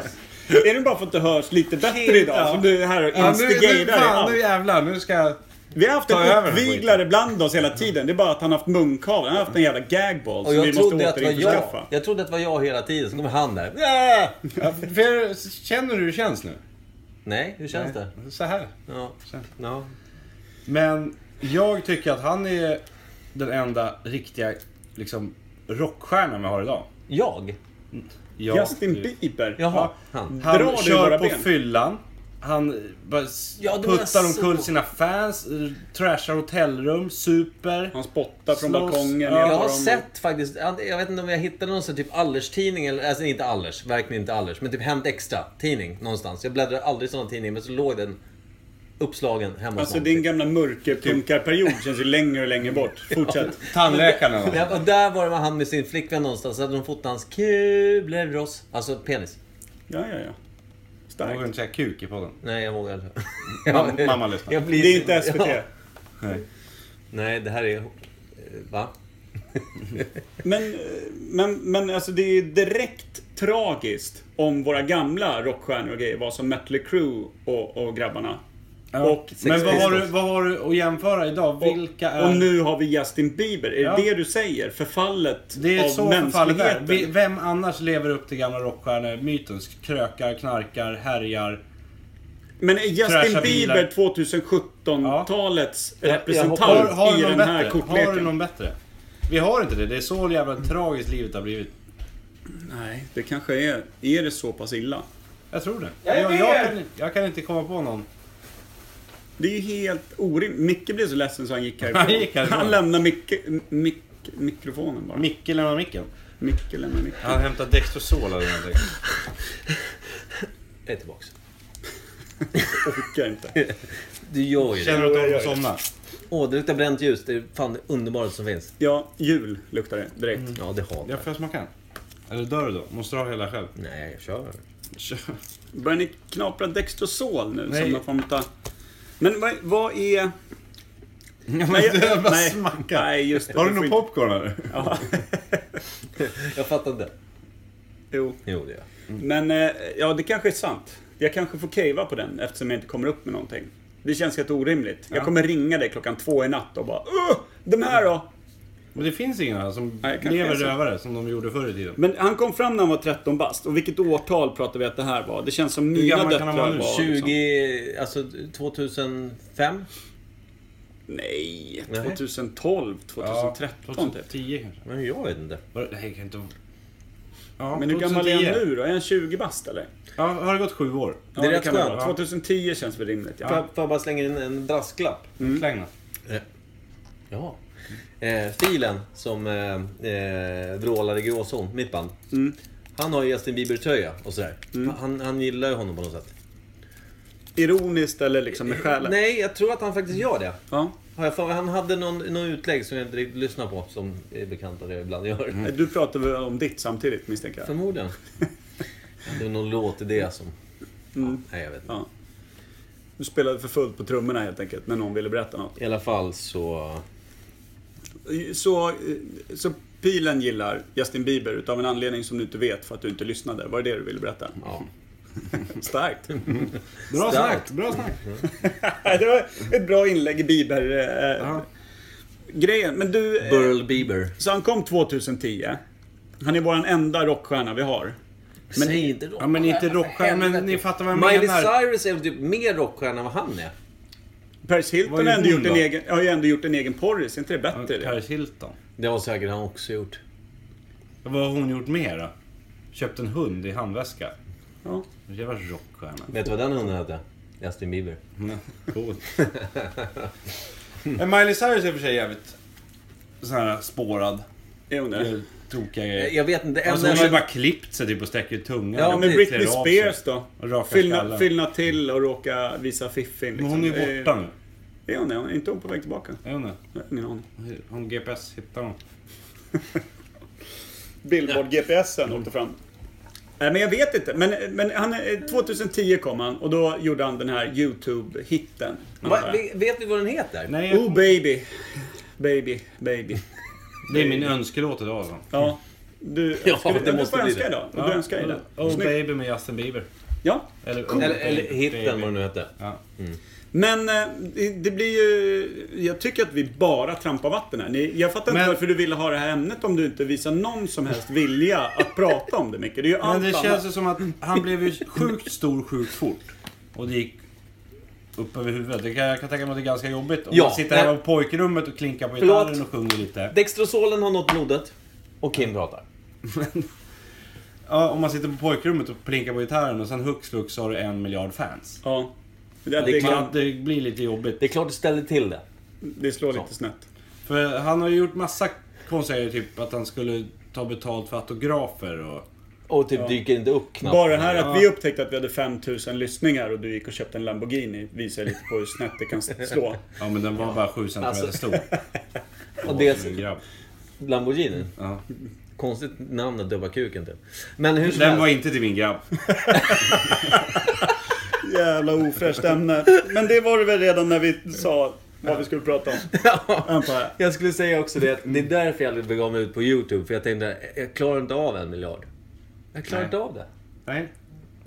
Är det bara för att det hörs lite bättre
Helt,
idag
ja.
som du är här och
Ja, nu, nu,
instigerar i
fan, nu
allt?
jävlar. Nu ska jag...
Vi har haft
Ta över
en
den
uppviglare bland oss hela tiden. Det är bara att han har haft munkavel. Han har haft en jävla gagball
Och
som vi
jag
måste
trodde, att det var jag,
återinförskaffa.
jag trodde att det var jag hela tiden, så kommer han där.
Ja, för- för- Känner du hur det känns nu?
Nej, hur känns det?
Så här.
Ja.
Så.
ja.
Men jag tycker att han är den enda riktiga liksom, rockstjärnan vi har idag.
Jag?
Ja,
Justin
det-
Bieber.
Jaha, han.
Han
Drar du
kör
våra
på
ben?
fyllan. Han bara s-
Ja, det var
puttar
jag
omkull
så.
sina fans, eh, trashar hotellrum, super.
Han spottar från
Slåss.
balkongen.
Ja.
ner
Jag
på
har
dem.
sett faktiskt, jag vet inte om jag hittade någon sån typ Allers-tidning, eller alltså inte Allers, verkligen inte Allers, men typ Hänt Extra-tidning någonstans. Jag bläddrade aldrig i sådana tidningar, men så låg den uppslagen hemma hos
Alltså
någon.
din gamla mörkerpunkarperiod känns ju längre och längre bort. Fortsätt.
Tandläkaren
Men jag- Och där var det med han med sin flickvän någonstans, så hade de fotat hans Kubler-Ross, alltså penis.
Ja, ja, ja.
Jag vågar
Starkt.
inte säga kuk i podden.
Nej, jag vågar inte.
Mam- mamma lyssnar.
Jag blir
Det är
så-
inte SVT.
Ja. Nej, det här är... eh, Va?
Men, eh, men, men alltså det är ju direkt tragiskt om våra gamla rockstjärnor och grejer var som Mötley Crüe och, och grabbarna. Och,
men vad har, du,
Pistols.
vad har du att jämföra idag? Vilka är...
och, och nu har vi Justin Bieber. Är
Ja.
det det du säger? Förfallet
det är
av
så förfallet är.
mänskligheten?
Vi- Vem annars lever upp till gamla rockstjärnemyten? Krökar, knarkar, härjar.
Men är Justin
Trasha bilar.
Bieber 2017-talets
Jag- jag
representant
hoppar- har du
i
någon
den här
bättre? Har du
kortleken?
någon bättre? Vi har inte det. Det är så jävla tragiskt livet har blivit.
Nej, det kanske är... Är det så pass illa?
Jag tror det.
Jag är
jag,
med
jag,
er!
kan, jag kan inte komma på någon.
Det är ju helt orimligt. Micke blev så ledsen så han gick härifrån.
Han gick härifrån.
Han lämnade mic mic mikrofonen bara.
Micke lämnar micken.
Micke lämnade mic
Han hämtar Dextrosol eller någonting.
Jag är tillbaks.
Orkar inte.
Du gör ju det.
Känner du att du håller på att somna?
Åh, det luktar bränt ljus. Det är fan det underbaraste som finns.
Ja, jul luktar det direkt.
Mm.
Ja, det har
Ja,
jag.
får jag smaka? Eller dör du då? Måste du ha hela själv?
Nej, kör.
Kör.
Börjar ni knapra Dextrosol nu?
Nej.
Som någon form av... Men vad, vad är...
Ja, men
Nej,
du har bara
nej,
smackat.
nej, just det.
Har du
Det
någon
får
popcorn eller?
Ja,
Jag fattar inte.
jo.
Jo, det gör jag.
Men eh, ja, det kanske är sant. Jag kanske får cavea på den eftersom jag inte kommer upp med någonting. Det känns helt orimligt. Jag kommer ringa dig klockan två i natt och bara "Åh, De här då?
Men det finns ingen här som
Nej, kanske
lever
är så.
rövare som de gjorde förr i tiden.
Men han kom fram när han var 13 bast. Och vilket årtal pratar vi att det här var? Det känns som mina
gammal kan
döttrar
han
var...
vara nu?
liksom-
20... Alltså 2005?
Nej,
Nej.
2012, 2013 typ.
2010 kanske.
Men jag vet inte.
Var- Nej, jag kan inte... Ja,
Men hur gammal är
2010.
han nu då? Är han 20 bast eller?
Ja, har det gått sju år?
Ja,
Det är rätt
kan det
skönt.
vara. 2010 känns väl rimligt. Ja.
Får jag- får jag bara slänga in en brasklapp?
Mm.
Släng
Ja. Eh, filen som eh, eh, vrålar i gråzon, mitt band. Han har ju Justin Bieber-tröja och sådär. Han, han gillar ju honom på något sätt.
Ironiskt eller liksom med själen?
Nej, jag tror att han faktiskt gör det.
Ja.
Har jag för, mig. han hade någon, någon utlägg som jag inte riktigt lyssnar på, som är bekant att jag ibland gör.
Du pratar väl om ditt samtidigt misstänker jag?
Förmodligen. Det är någon låt i det som... Ja, nej, jag vet inte.
Ja. Du spelade för fullt på trummorna helt enkelt när någon ville berätta något.
I alla fall så...
Så, eh, så pilen gillar Justin Bieber utav en anledning som du inte vet för att du inte lyssnade. Var det det du ville berätta?
Ja.
Starkt!
Bra
Starkt.
snack! Bra snack!
det var ett bra inlägg i Bieber-grejen. Men du, eh,
Burl Bieber.
så han kom 2010. Han är våran enda rockstjärna vi har.
Men, Säg inte rock.
Ja, men inte rockstjärna, men ni fattar vad jag
Miley
menar.
Cyrus är väl typ mer rockstjärna än vad han är?
Paris
Vad
Hilton
är
har ändå
hon
gjort en
då?
egen, har ju ändå gjort en egen porris, är inte det bättre? det?
Paris Hilton.
Det har säkert han också gjort.
Vad har hon gjort mer då? Köpt en hund i handväska.
Ja.
Jävla rockstjärna.
Vet du vad den hunden hette? Justin Bieber.
Cool. Men Miley Cyrus är i och för sig jävligt sån här spårad.
Är hon det?
Eller Tråkiga
Eh,
grejer.
Jag vet inte.
Alltså,
en-
hon har ju bara klippt sig typ och sträcker ut tungan.
Ja,
Och
Men
precis.
Britney
klär av sig.
Spears då?
Och raka
Fyllna,
skallen.
fyllna till och råka visa fiffin.
Men
Liksom.
hon är ju borta nu.
Eh, Är hon det? Är inte hon på väg tillbaka?
Är hon det?
Jag har Ingen aning.
Hon GPS hittar hon.
Billboard GPSen åkte fram. Nej, men jag vet inte. Men, men han, eh, 2010 kom han och då gjorde han den här YouTube-hitten.
Va, ve- vet vi vad den heter?
Nej,
Oh baby, baby, baby.
det är min önskelåt idag alltså.
Ja. Du,
Ja,
skulle,
det
det
måste
måste du får
bli
önska
det.
idag. Och du önskar idag.
Oh
Snyggt.
baby med Justin Bieber.
Ja.
Eller,
Eller, eller hitten vad den nu hette.
Ja.
Men eh, det- det blir ju... Jag tycker att vi bara trampar vatten här. Ni- Jag fattar
Men-
inte varför du ville ha det här ämnet om du inte visar någon som helst vilja att prata om det mycket. Det är ju
Men
allt
det
annat.
känns ju som att han blev ju sjukt stor sjukt fort. Och det gick upp över huvudet. Det kan, jag kan tänka mig att det är ganska jobbigt. Om
Ja,
man sitter hemma
nej.
på pojkrummet och klinkar på
Förlåt.
gitarren och sjunger lite.
Dextrosolen har nått blodet. Och Kim pratar.
Ja, om man sitter på pojkrummet och plinkar på gitarren och sen hux flux så har du en miljard fans.
Ja. Det,
det är
det,
Så att det blir lite jobbigt.
Det är klart det ställer till det.
det slår lite snett.
För han har ju gjort massa konstiga grejer, typ att han skulle ta betalt för autografer och...
Och typ dyker inte upp knappt.
Bara det här att vi upptäckte att vi hade 5000 lyssningar och du gick och köpte en Lamborghini visar lite på hur snett det kan slå.
Ja men den var bara 7 centimeter
Alltså-
stor.
Och det
Min grabb.
Lamborghini.
Ja.
Konstigt namn att dubba kuken till. Men hur som
Den var
helst.
inte till min grabb.
Jävla ofräscht ämne. Men det var det väl redan när vi sa vad vi skulle prata om. Antar jag.
Jag skulle säga också det att det är
Mm.
därför jag aldrig begav mig ut på YouTube. För jag tänkte, jag klarar inte av en miljard. Jag klarar
Nej.
inte av det.
Nej,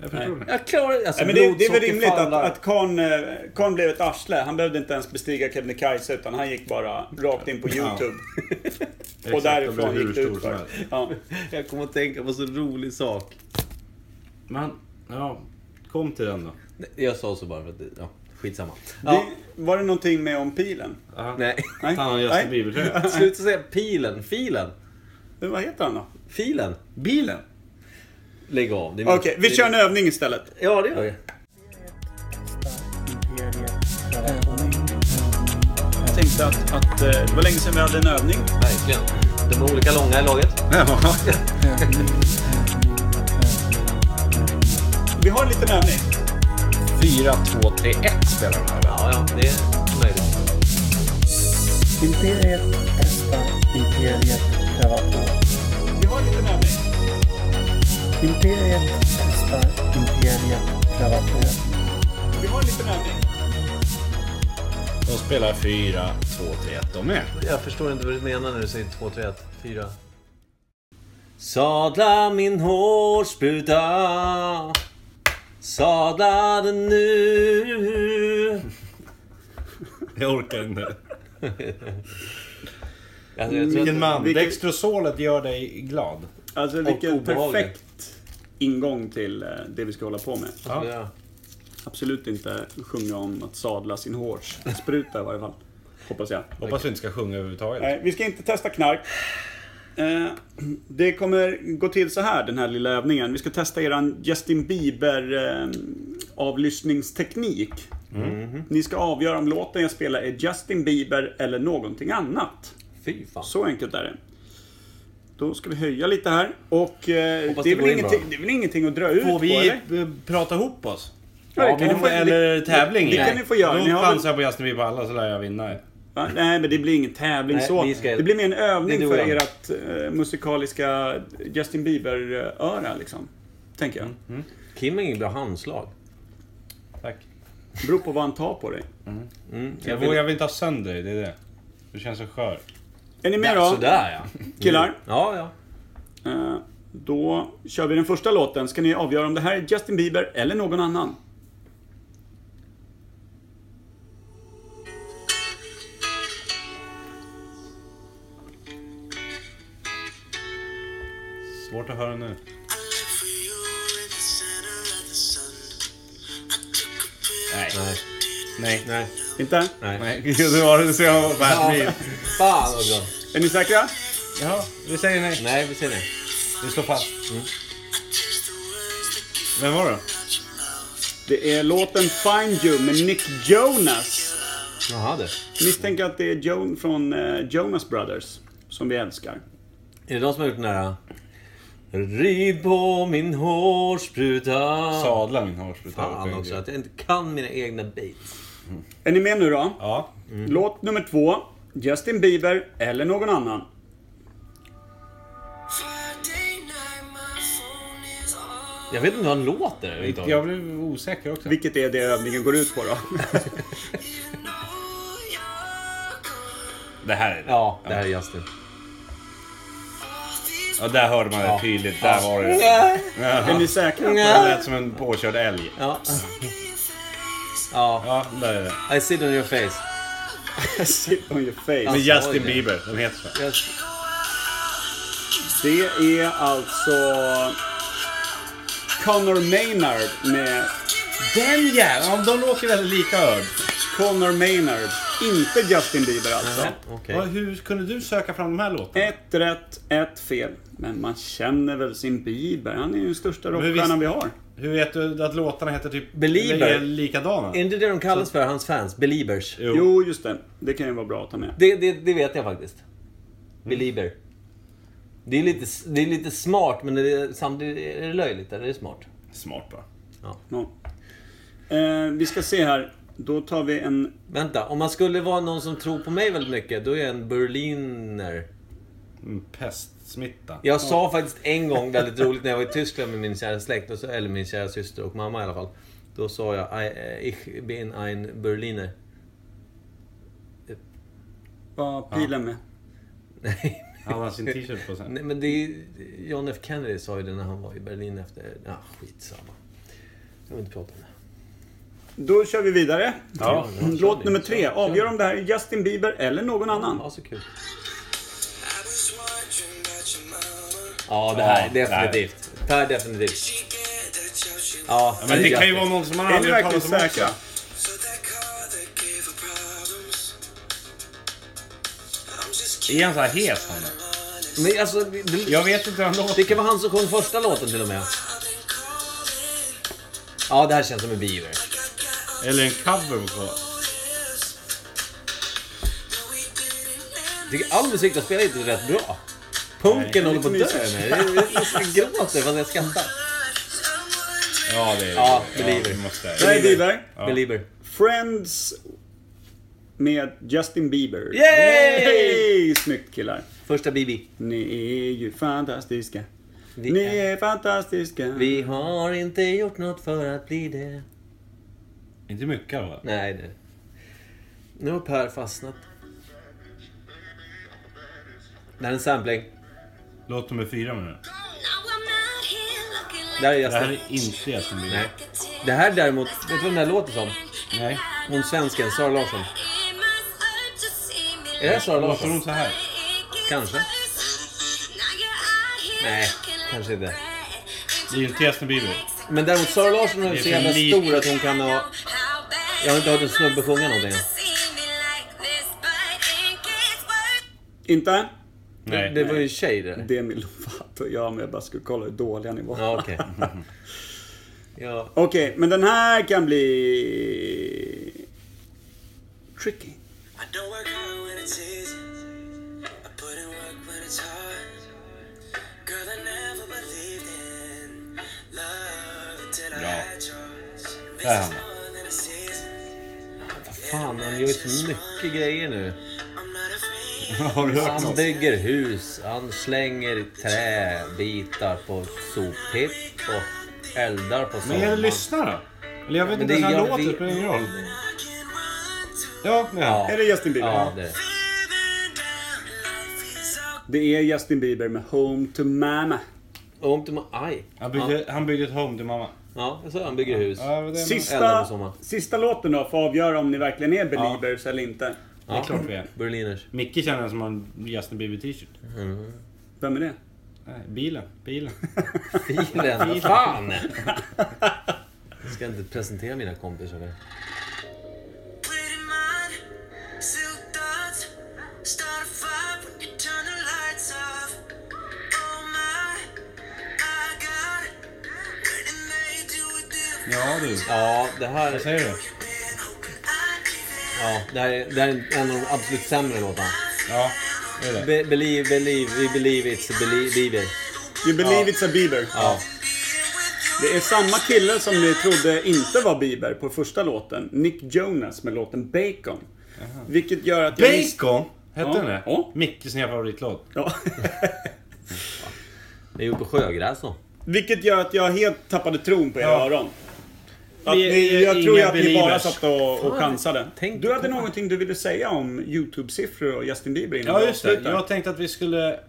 jag förstår det.
Jag klarar alltså,
Nej, men det, det är väl
blodsocker
rimligt att,
faller.
att Korn, eh, Korn blev ett arsle. Han behövde inte ens bestiga Kebnekaise utan han gick bara rakt in på YouTube. Och
Exakt, den
därifrån
blev
gick det
hur stor
utför.
som helst.
Ja.
Jag kommer att tänka på en så rolig sak.
Men, ja. Kom till den då.
Nej, Jag sa så bara för att, ja, skitsamma. Ja,
Det, var det någonting med om pilen?
nej.
Nej.
Han har Justin Bieber-tröja.
Sluta säga pilen, filen,
Men Vad heter han då?
filen.
Bilen?
Lägg av. det är min-
Okej, vi
det är
kör en
min-
övning istället.
Ja, det gör vi.
Jag tänkte att, att eh, det var länge sedan vi hade en övning.
Verkligen. De är olika långa i laget.
Ja.
Vi har en liten övning.
4, 2, 3, 1 spelar den här.
Ja, ja, det är möjligt.
Imperiet testar, Imperiet prövar på.
Vi har en liten övning.
Imperiet testar, Imperiet prövar på.
Vi har en liten övning.
De spelar 4, 2, 3, 1 de med.
Jag förstår inte vad du menar när du säger 2, 3, 1, 4. Sadla min hårspruta. Sadla den nu. Alltså,
Jag orkar inte.
Jag, jag tror att-
Vilken man.
Vilken-
Dextrosolet gör dig glad.
Alltså vilken
obehaglig.
perfekt ingång till eh, det vi ska hålla på med.
Ja.
Absolut inte sjunga om att sadla sin hårs. Spruta i varje fall. Hoppas jag.
Hoppas vi inte ska sjunga överhuvudtaget.
Nej, vi ska inte testa knark. Eh, Det kommer gå till så här, den här lilla övningen. Vi ska testa eran Justin Bieber eh, avlyssningsteknik. Ni ska avgöra om låten jag spelar är Justin Bieber eller någonting annat.
Fy fan.
Så enkelt är det. Då ska vi höja lite här. Och eh,
Hoppas
det, är
det
väl
går in
ingenting,
bra.
det är väl ingenting att dra ut
Får
på,
vi
eller?
eh, prata ihop oss?
Ja, det
Ja,
kan
vi
ni få-
får, eller tävling?
det kan
Nej.
ni få göra.
Då
Ni har väl-
chansar jag på Justin Bieber alla så lär jag vinna.
Va? Nej, men det blir ingen tävling
Nej,
så.
vi ska-
Det blir mer en
Det
övning
är du
för
och jag.
ert eh, musikaliska Justin Bieber-öra, liksom. Tänker jag.
Mm. Kim har inget bra handslag.
Tack.
Det beror på vad han tar på dig.
Mm,
Jag
vill-
vågar väl inte ha sönder dig, det är det. Du känns så skör.
Är ni med då,
Sådär ja.
killar?
Ja, ja.
Eh, då kör vi den första låten. Ska ni avgöra om det här är Justin Bieber eller någon annan?
Svårt att höra nu. Nej. Nej. Nej.
Inte?
Nej. Det var det så jag var världsvid.
Fan vad bra.
Är ni säkra?
Ja, vi säger nej.
Nej, vi säger nej.
Vi slår fast. Vem var det?
Det är låten Find You med Nick Jonas.
Jaha du.
Misstänker att det är Joan från eh, Jonas Brothers, som vi älskar.
Är det de som har gjort den där... Rid på min hårspruta.
Sadla min hårspruta.
Fan också att jag inte kan mina egna beats.
Är ni med nu då?
Ja.
Låt nummer två. Justin Bieber eller någon annan.
Jag vet inte hur han låter överhuvudtaget.
Jag blev osäker också.
Vilket är det övningen går ut på då?
Det här är det.
Ja, det här är Justin.
Ja, där hörde man det tydligt. Där var det.
Är ni säkra? på
Det
det?
lät som en påkörd älg.
Ja. Ja,
Ja, där är det.
I sit on your face.
Sit on your
Men
face.
Alltså,
Justin Bieber, den heter så.
Just-
Det är alltså Connor Maynard med
Den jäveln! Ja, De låter väldigt lika Örd.
Connor Maynard. Inte Justin Bieber alltså.
Okej.
Vad- Hur kunde du söka fram de här låtarna?
Ett rätt, ett fel. Men man känner väl sin Bieber. Han är ju den största
hur
rockstjärnan
visst-
vi har.
Hur vet du att låtarna heter typ...
Belieber.
eller är likadana?
Är inte det de kallas för, hans fans? Beliebers?
Jo.
Jo, just det. Det kan ju vara bra att ta med.
Det, det, det vet jag faktiskt. Belieber. Det är lite, det är lite smart, men det är, samtidigt är det löjligt. Eller är det smart?
Smart va?
Ja. Eh, vi ska se här. Då tar vi en...
Vänta, om man skulle vara någon som tror på mig väldigt mycket, då är jag en berliner.
Mm, Pestsmitta.
Jag sa faktiskt en gång, väldigt roligt, när jag var i Tyskland med min kära släkt, och så- eller min kära syster och mamma i alla fall. Då sa jag, I, eh, ich bin ein Berliner.
Vad pilen med.
Nej,
Han har sin t-shirt på sig.
nej, men det är, John F Kennedy sa ju det när han var i Berlin efter... Ja, skitsamma. Jag vill inte prata om det.
Då kör vi vidare. Mm.
Ja.
Låt nummer tre. Avgör om det här är Justin Bieber eller någon annan.
Ja, så kul. Ja, det här är
Ja, det här.
definitivt. Det här är definitivt. Ja,
Men det kan ju
Justin.
vara någon som man
Är ni
aldrig har
verkligen
talat om också.
säkra?
Är han så här het? han då?
Men alltså, det,
Jag vet inte hur han låter.
det kan vara han som sjöng första låten till och med. Ja, det här känns som en Bieber.
Eller en cover på...
Jag tycker all musik de spelar är inte rätt bra. Punken håller på att dö nu. Jag- jag- Jag gråter fast jag skrattar.
Ja, det är
Ja, Belieber.
vi måste...
Det är Bieber.
Belieber.
Friends med Justin Bieber.
Yay!
Yay! Snyggt killar.
Första BB.
Ni är ju fantastiska.
Vi
Ni
är-
är fantastiska.
Vi har inte gjort något för att bli det.
Inte mycket va?
Nej, det... Nu har Per fastnat. Det här är en sampling.
Låt nummer fyra med nu.
Det här är
Det här
Justin.
är inte Justin Bieber.
Nej. Det här däremot, vet du vad den här låter som?
Nej.
Hon svensken, Sara Larsson. Är det här Sara
Låter
Larsson?
hon så här?
Kanske. Nej, kanske inte.
Det är ju inte Justin Bieber.
Men däremot Sara Larsson är
Det är
så
för
jävla
lite.
stor att hon kan ha... Jag har inte hört en snubbe sjunga någonting.
Inte?
Nej.
Det var ju en tjej det.
Demi Lovato. Ja, men jag bara skulle kolla hur dåliga ni var.
Ja, okej. Ja,
Okej, men den här kan bli... Tricky.
I don't work hard when it's easy. I put in work when it's hard. Girl, I never believed in love until I
Ja.
had yours. This
Där
is
har
more than a season.
vad fan, han gör ju så mycket grejer nu.
I'm not afraid.
Har du hört
Han
något?
bygger hus, han slänger träbitar på soptipp och eldar på
Men jag
sommaren.
lyssnar då. Eller jag vet
Men
inte
det-
ens hur han
jag
låter. Det
vet-
spelar ingen roll. Ja, men ja.
Är det Justin Bieber?
Ja, det.
Living down life is okay.
Det är Justin Bieber med Home to Mama.
Om till aj.
Han, byggde, han byggde ett home till mamma.
Ja, jag sa han bygger hus.
Ja, det är
Elda
Sista,
på sommaren.
sista låten då, får avgöra om ni verkligen är Beliebers eller inte.
Ja,
det är klart vi är.
Berliners.
Micke känner som en Justin Bieber t-shirt.
Vem är det?
Nej, bilen. Bilen.
Filen, vad fan! Jag ska inte presentera mina kompisar nu.
Pretty mind, silk thoughts. Start a fire when you turn the lights off. Oh my, I got it. When it made you a difference.
Ja,
Ja du.
det
Vad
här,
säger du?
ja, det här, är, det här är en av de absolut sämre låtarna.
Ja, det är det.
Be, believe, believe, we believe it's a belie- Bieber.
You believe it's a Bieber.
Ja.
Det är samma kille som ni trodde inte var Bieber på första låten. Nick Jonas med låten Bacon. Vilket gör att jag visste...
Bacon! Hette
Ja.
den det?
Ja.
Mickes nya favoritlåt.
Ja.
Det är gjort på sjögräs då.
Vilket gör att jag helt tappade tron på era
Ja.
öron. Att
Vi är
ni, jag
inga
tror ju att ni bara
believers.
satt och, och chansade.
tänk
Du hade
på-
någonting du ville säga om YouTube-siffror och Justin Bieber innan
Ja,
vi
just det.
avslutar.
Jag tänkte att vi skulle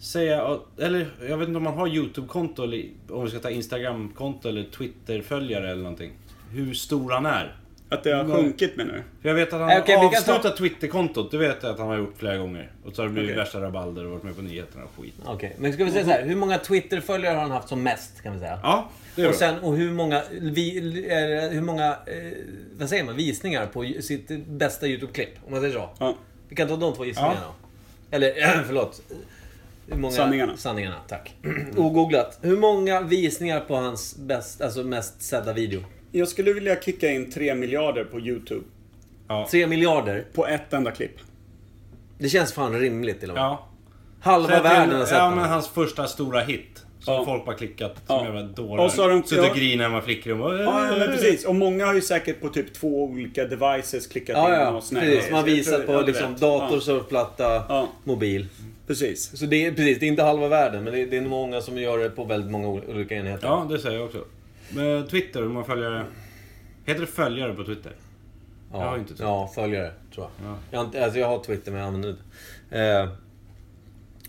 säga... att- Eller jag vet inte om man har YouTube-konto eller om vi ska ta Instagram-konto eller Twitter-följare eller någonting. Hur stor han är.
Att det har
Nej.
sjunkit med nu?
För jag vet att han
Okej,
har
vi kan ta-
avslutat Twitterkontot. Det vet jag att han har gjort flera gånger. Och så har det blivit
Okej.
värsta rabalder och varit med på nyheterna och skit.
Okej, men ska vi säga så här. Hur många Twitter-följare har han haft som mest? Kan vi säga.
Ja, det är
Och
bra.
sen, och hur många, vi, eh, hur många eh, vad säger man, visningar på ju- sitt bästa YouTube-klipp? Om man säger så.
Ja.
Vi kan ta de två gissningarna. Eller, förlåt. Hur många,
Sanningarna.
Sanningarna, tack. Ogooglat. Hur många visningar på hans bäst, alltså mest sedda video?
Jag skulle vilja kicka in 3 miljarder på YouTube.
Tre miljarder.
På ett enda klipp.
Det känns fan rimligt till och med.
Ja.
Halva
Säg till-
världen har sett
Ja,
honom.
men hans första stora hit. Som
Ja.
folk bara klickat som
Ja.
jävla dårar.
Och så har de-
Suttit
ja.
och grinat hemma i flickrum och...
Ja, ja, men precis. Och många har ju säkert på typ två olika devices klickat
Ja,
in
ja.
och såna här
Precis.
grejer.
Som har
Så jag
visat
tror-
på
ja, du
liksom,
vet.
dator,
Ja,
surfplatta,
Ja.
mobil.
precis.
Så det är, precis, det är inte halva världen, men det är, det är många som gör det på väldigt många ol- olika enheter.
Ja, det säger jag också. Men Twitter, om man följer... Heter det följare på Twitter?
Ja,
Jag har inte Twitter.
Ja, följare, tror jag.
Ja.
Jag, har inte, alltså jag har Twitter, men jag använder det inte. Eh,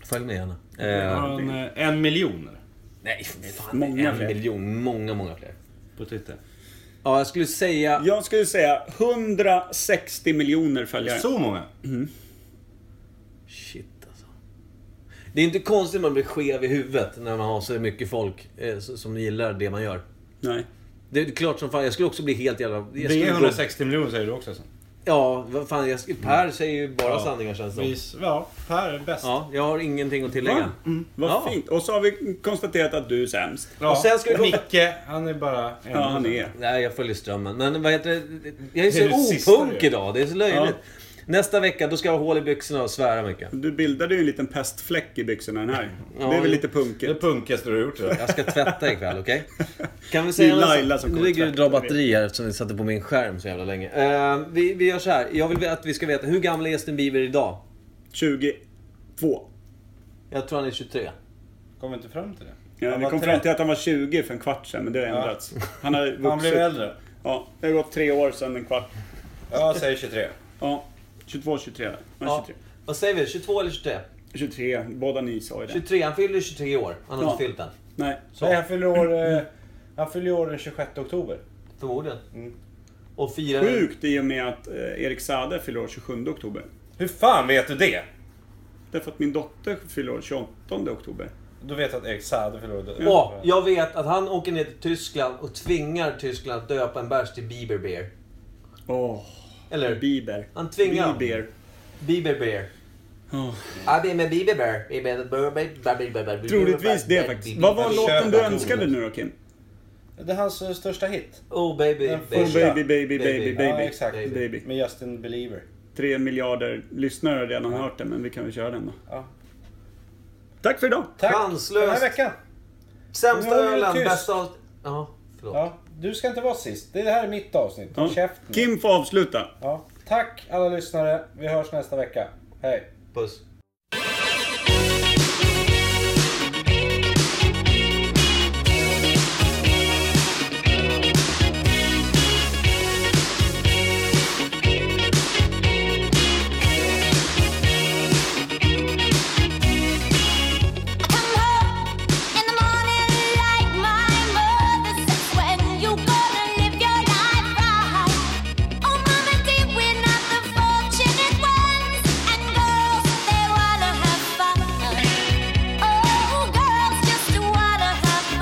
följ med gärna.
Jag
Eh,
har en, eh, en miljon
nej, fan.
Många
en
fler.
miljon. Många, många fler.
på Twitter.
Ja, jag skulle säga...
Jag skulle säga 160 miljoner följare.
Så många?
Shit, alltså. Det är inte konstigt att man blir skev i huvudet när man har så mycket folk eh, s- som gillar det man gör.
Nej.
Det är klart som fan, jag skulle också bli helt jävla... jag skulle
Det är
gå-
160 miljoner säger du också sen.
Ja, vad fan, jag, sk- Per säger ju bara
Ja.
sanningar känns det som.
Vis, ja, Per är bäst.
Ja, jag har ingenting att tillägga.
Va? Vad
Ja.
fint. Och så har vi konstaterat att du är sämst.
Ja.
Och sen ska vi gå-
Micke, han är bara... en.
Ja, han är.
Nej, jag följer strömmen. Men vad heter det? Jag är
Det är det
så
sista
opunk
ju.
idag. Det är så löjligt. Nästa vecka, då ska jag ha hål i byxorna och svära mycket.
Du bildade ju en liten pestfläck i byxorna den här.
Ja,
det är väl
jo.
lite
Det är
punkigt.
punkigaste du har gjort. tror jag.
Jag ska tvätta ikväll, okej? Kan vi
Det
säga
är
något-
Laila som
Nu
kommer
ligger det och
tvätta
drar batteri här eftersom vi satte på min skärm så jävla länge. Eh, vi, vi gör så här. Jag vill att vi ska veta, hur gammal är Justin Bieber idag?
22.
Jag tror han är 23.
Kom inte fram till det.
Ja,
Han
vi
var
kom
tre-
fram till att han var 20 för en kvart sedan, men det har
Ja.
ändrats. Han har vuxit.
Han blev äldre.
Ja, det har gått tre år sedan en kvart.
Jag säger 23.
Ja, 22, 23. Ja,
Ja.
23.
Vad säger vi? 22 eller 23?
23, båda ni sa ju det.
23, han fyller 23 år. Han har
Ja.
inte fyllt än.
Nej.
Nej, han fyller år... eh, Han fyller år den 26 oktober.
Förmodligen. Och firar...
Mm. Sjukt i och med att eh, Erik Sade fyller år 27 oktober.
Hur fan vet du det?
Därför att min dotter fyller år 28 oktober.
Du vet att Erik Saade fyller år...
Ja, jag vet att han åker ner till Tyskland och tvingar Tyskland att döpa en bärs till Bieber Beer.
Åh,
Eller
Bieber.
Han tvingar honom.
Bieber.
Bieber Beer.
Ja.
Ja, det är med Bieber Bear. Bieber Bear, Bieber Bear, Bieber
Troligtvis
Bear,
det faktiskt.
Bieber
Vad var
Bear.
låten du
Köpa
önskade
Thomas.
nu då Kim?
Det är hans eh, största hit.
Oh baby,
Den
baby.
Oh, baby, baby, baby,
Baby.
baby.
Ja, exakt.
baby.
Med Justin Believer.
Tre miljarder lyssnare har redan hört den, men vi kan väl köra den då.
Ja.
Tack för idag!
Tack!
Chanslöst.
Den här veckan. Nu
Sämsta
har vi
ölen,
tyst.
bästa av... Ja, förlåt.
Ja, du ska inte vara sist. Det här är mitt avsnitt. Håll
Ja.
Käften.
Kim får avsluta.
Ja. Tack alla lyssnare. Vi hörs nästa vecka. Hej.
Puss.
Fortunate ones and girls, they
Oh, Oh, Oh, Oh,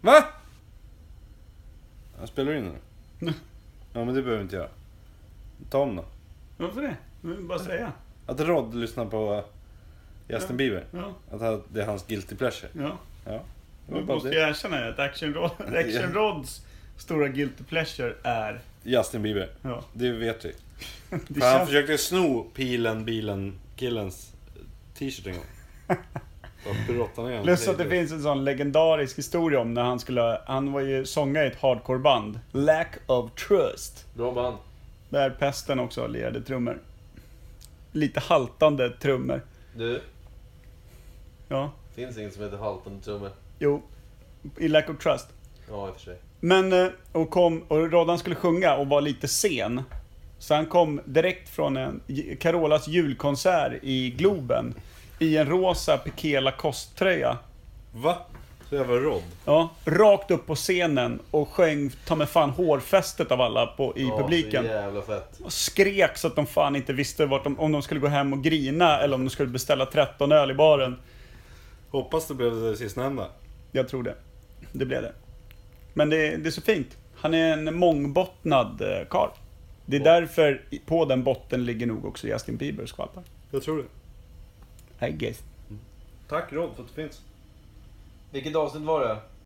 Va? Ja, spelar du in den? Ja, men det behöver inte jag. Ta om då.
Varför det? Jag vill bara säga.
Att Rod lyssnar på eh, Justin Bieber.
Ja,
Att han- det är hans guilty pleasure.
ja.
Ja. Det var
Nu
bara
måste
det.
jag erkänna att Action, Rod, Action Rods stora guilty pleasure är...
Justin Bieber.
Ja,
Det vet vi.
det
För han
känns...
försökte sno pilen, bilen, killens t-shirt en gång. Bara brottade ner honom.
Plus att det finns en sån legendarisk historia om när han skulle... Han var ju sångare i ett hardcoreband. Lack of Trust.
Bra band.
Där Pesten också lirade trummor. Lite haltande trummor.
Du,
Ja,
finns inget som heter haltande trummor.
jo. I Lack of Trust.
Ja, i och för sig.
Men, eh, och kom, och Rodan skulle sjunga och var lite sen. Så han kom direkt från en J- Carolas julkonsert i Globen. I en rosa Pikela kosttröja.
Va? Så jag var Rod.
Ja, rakt upp på scenen och sjöng ta mig fan hårfästet av alla på, i
Ja,
publiken.
så jävla fett.
Och skrek så att de fan inte visste vart de, om de skulle gå hem och grina eller om de skulle beställa 13 öl i baren.
Hoppas det blev det sistnämnda.
Jag tror det. Det blev det. Men det, det är så fint. Han är en mångbottnad eh, karl. Det är därför i- på den botten ligger nog också Justin Bieber och skvalpar.
Jag tror det.
I guess.
Tack Rod för att du finns.
Vilket avsnitt var det?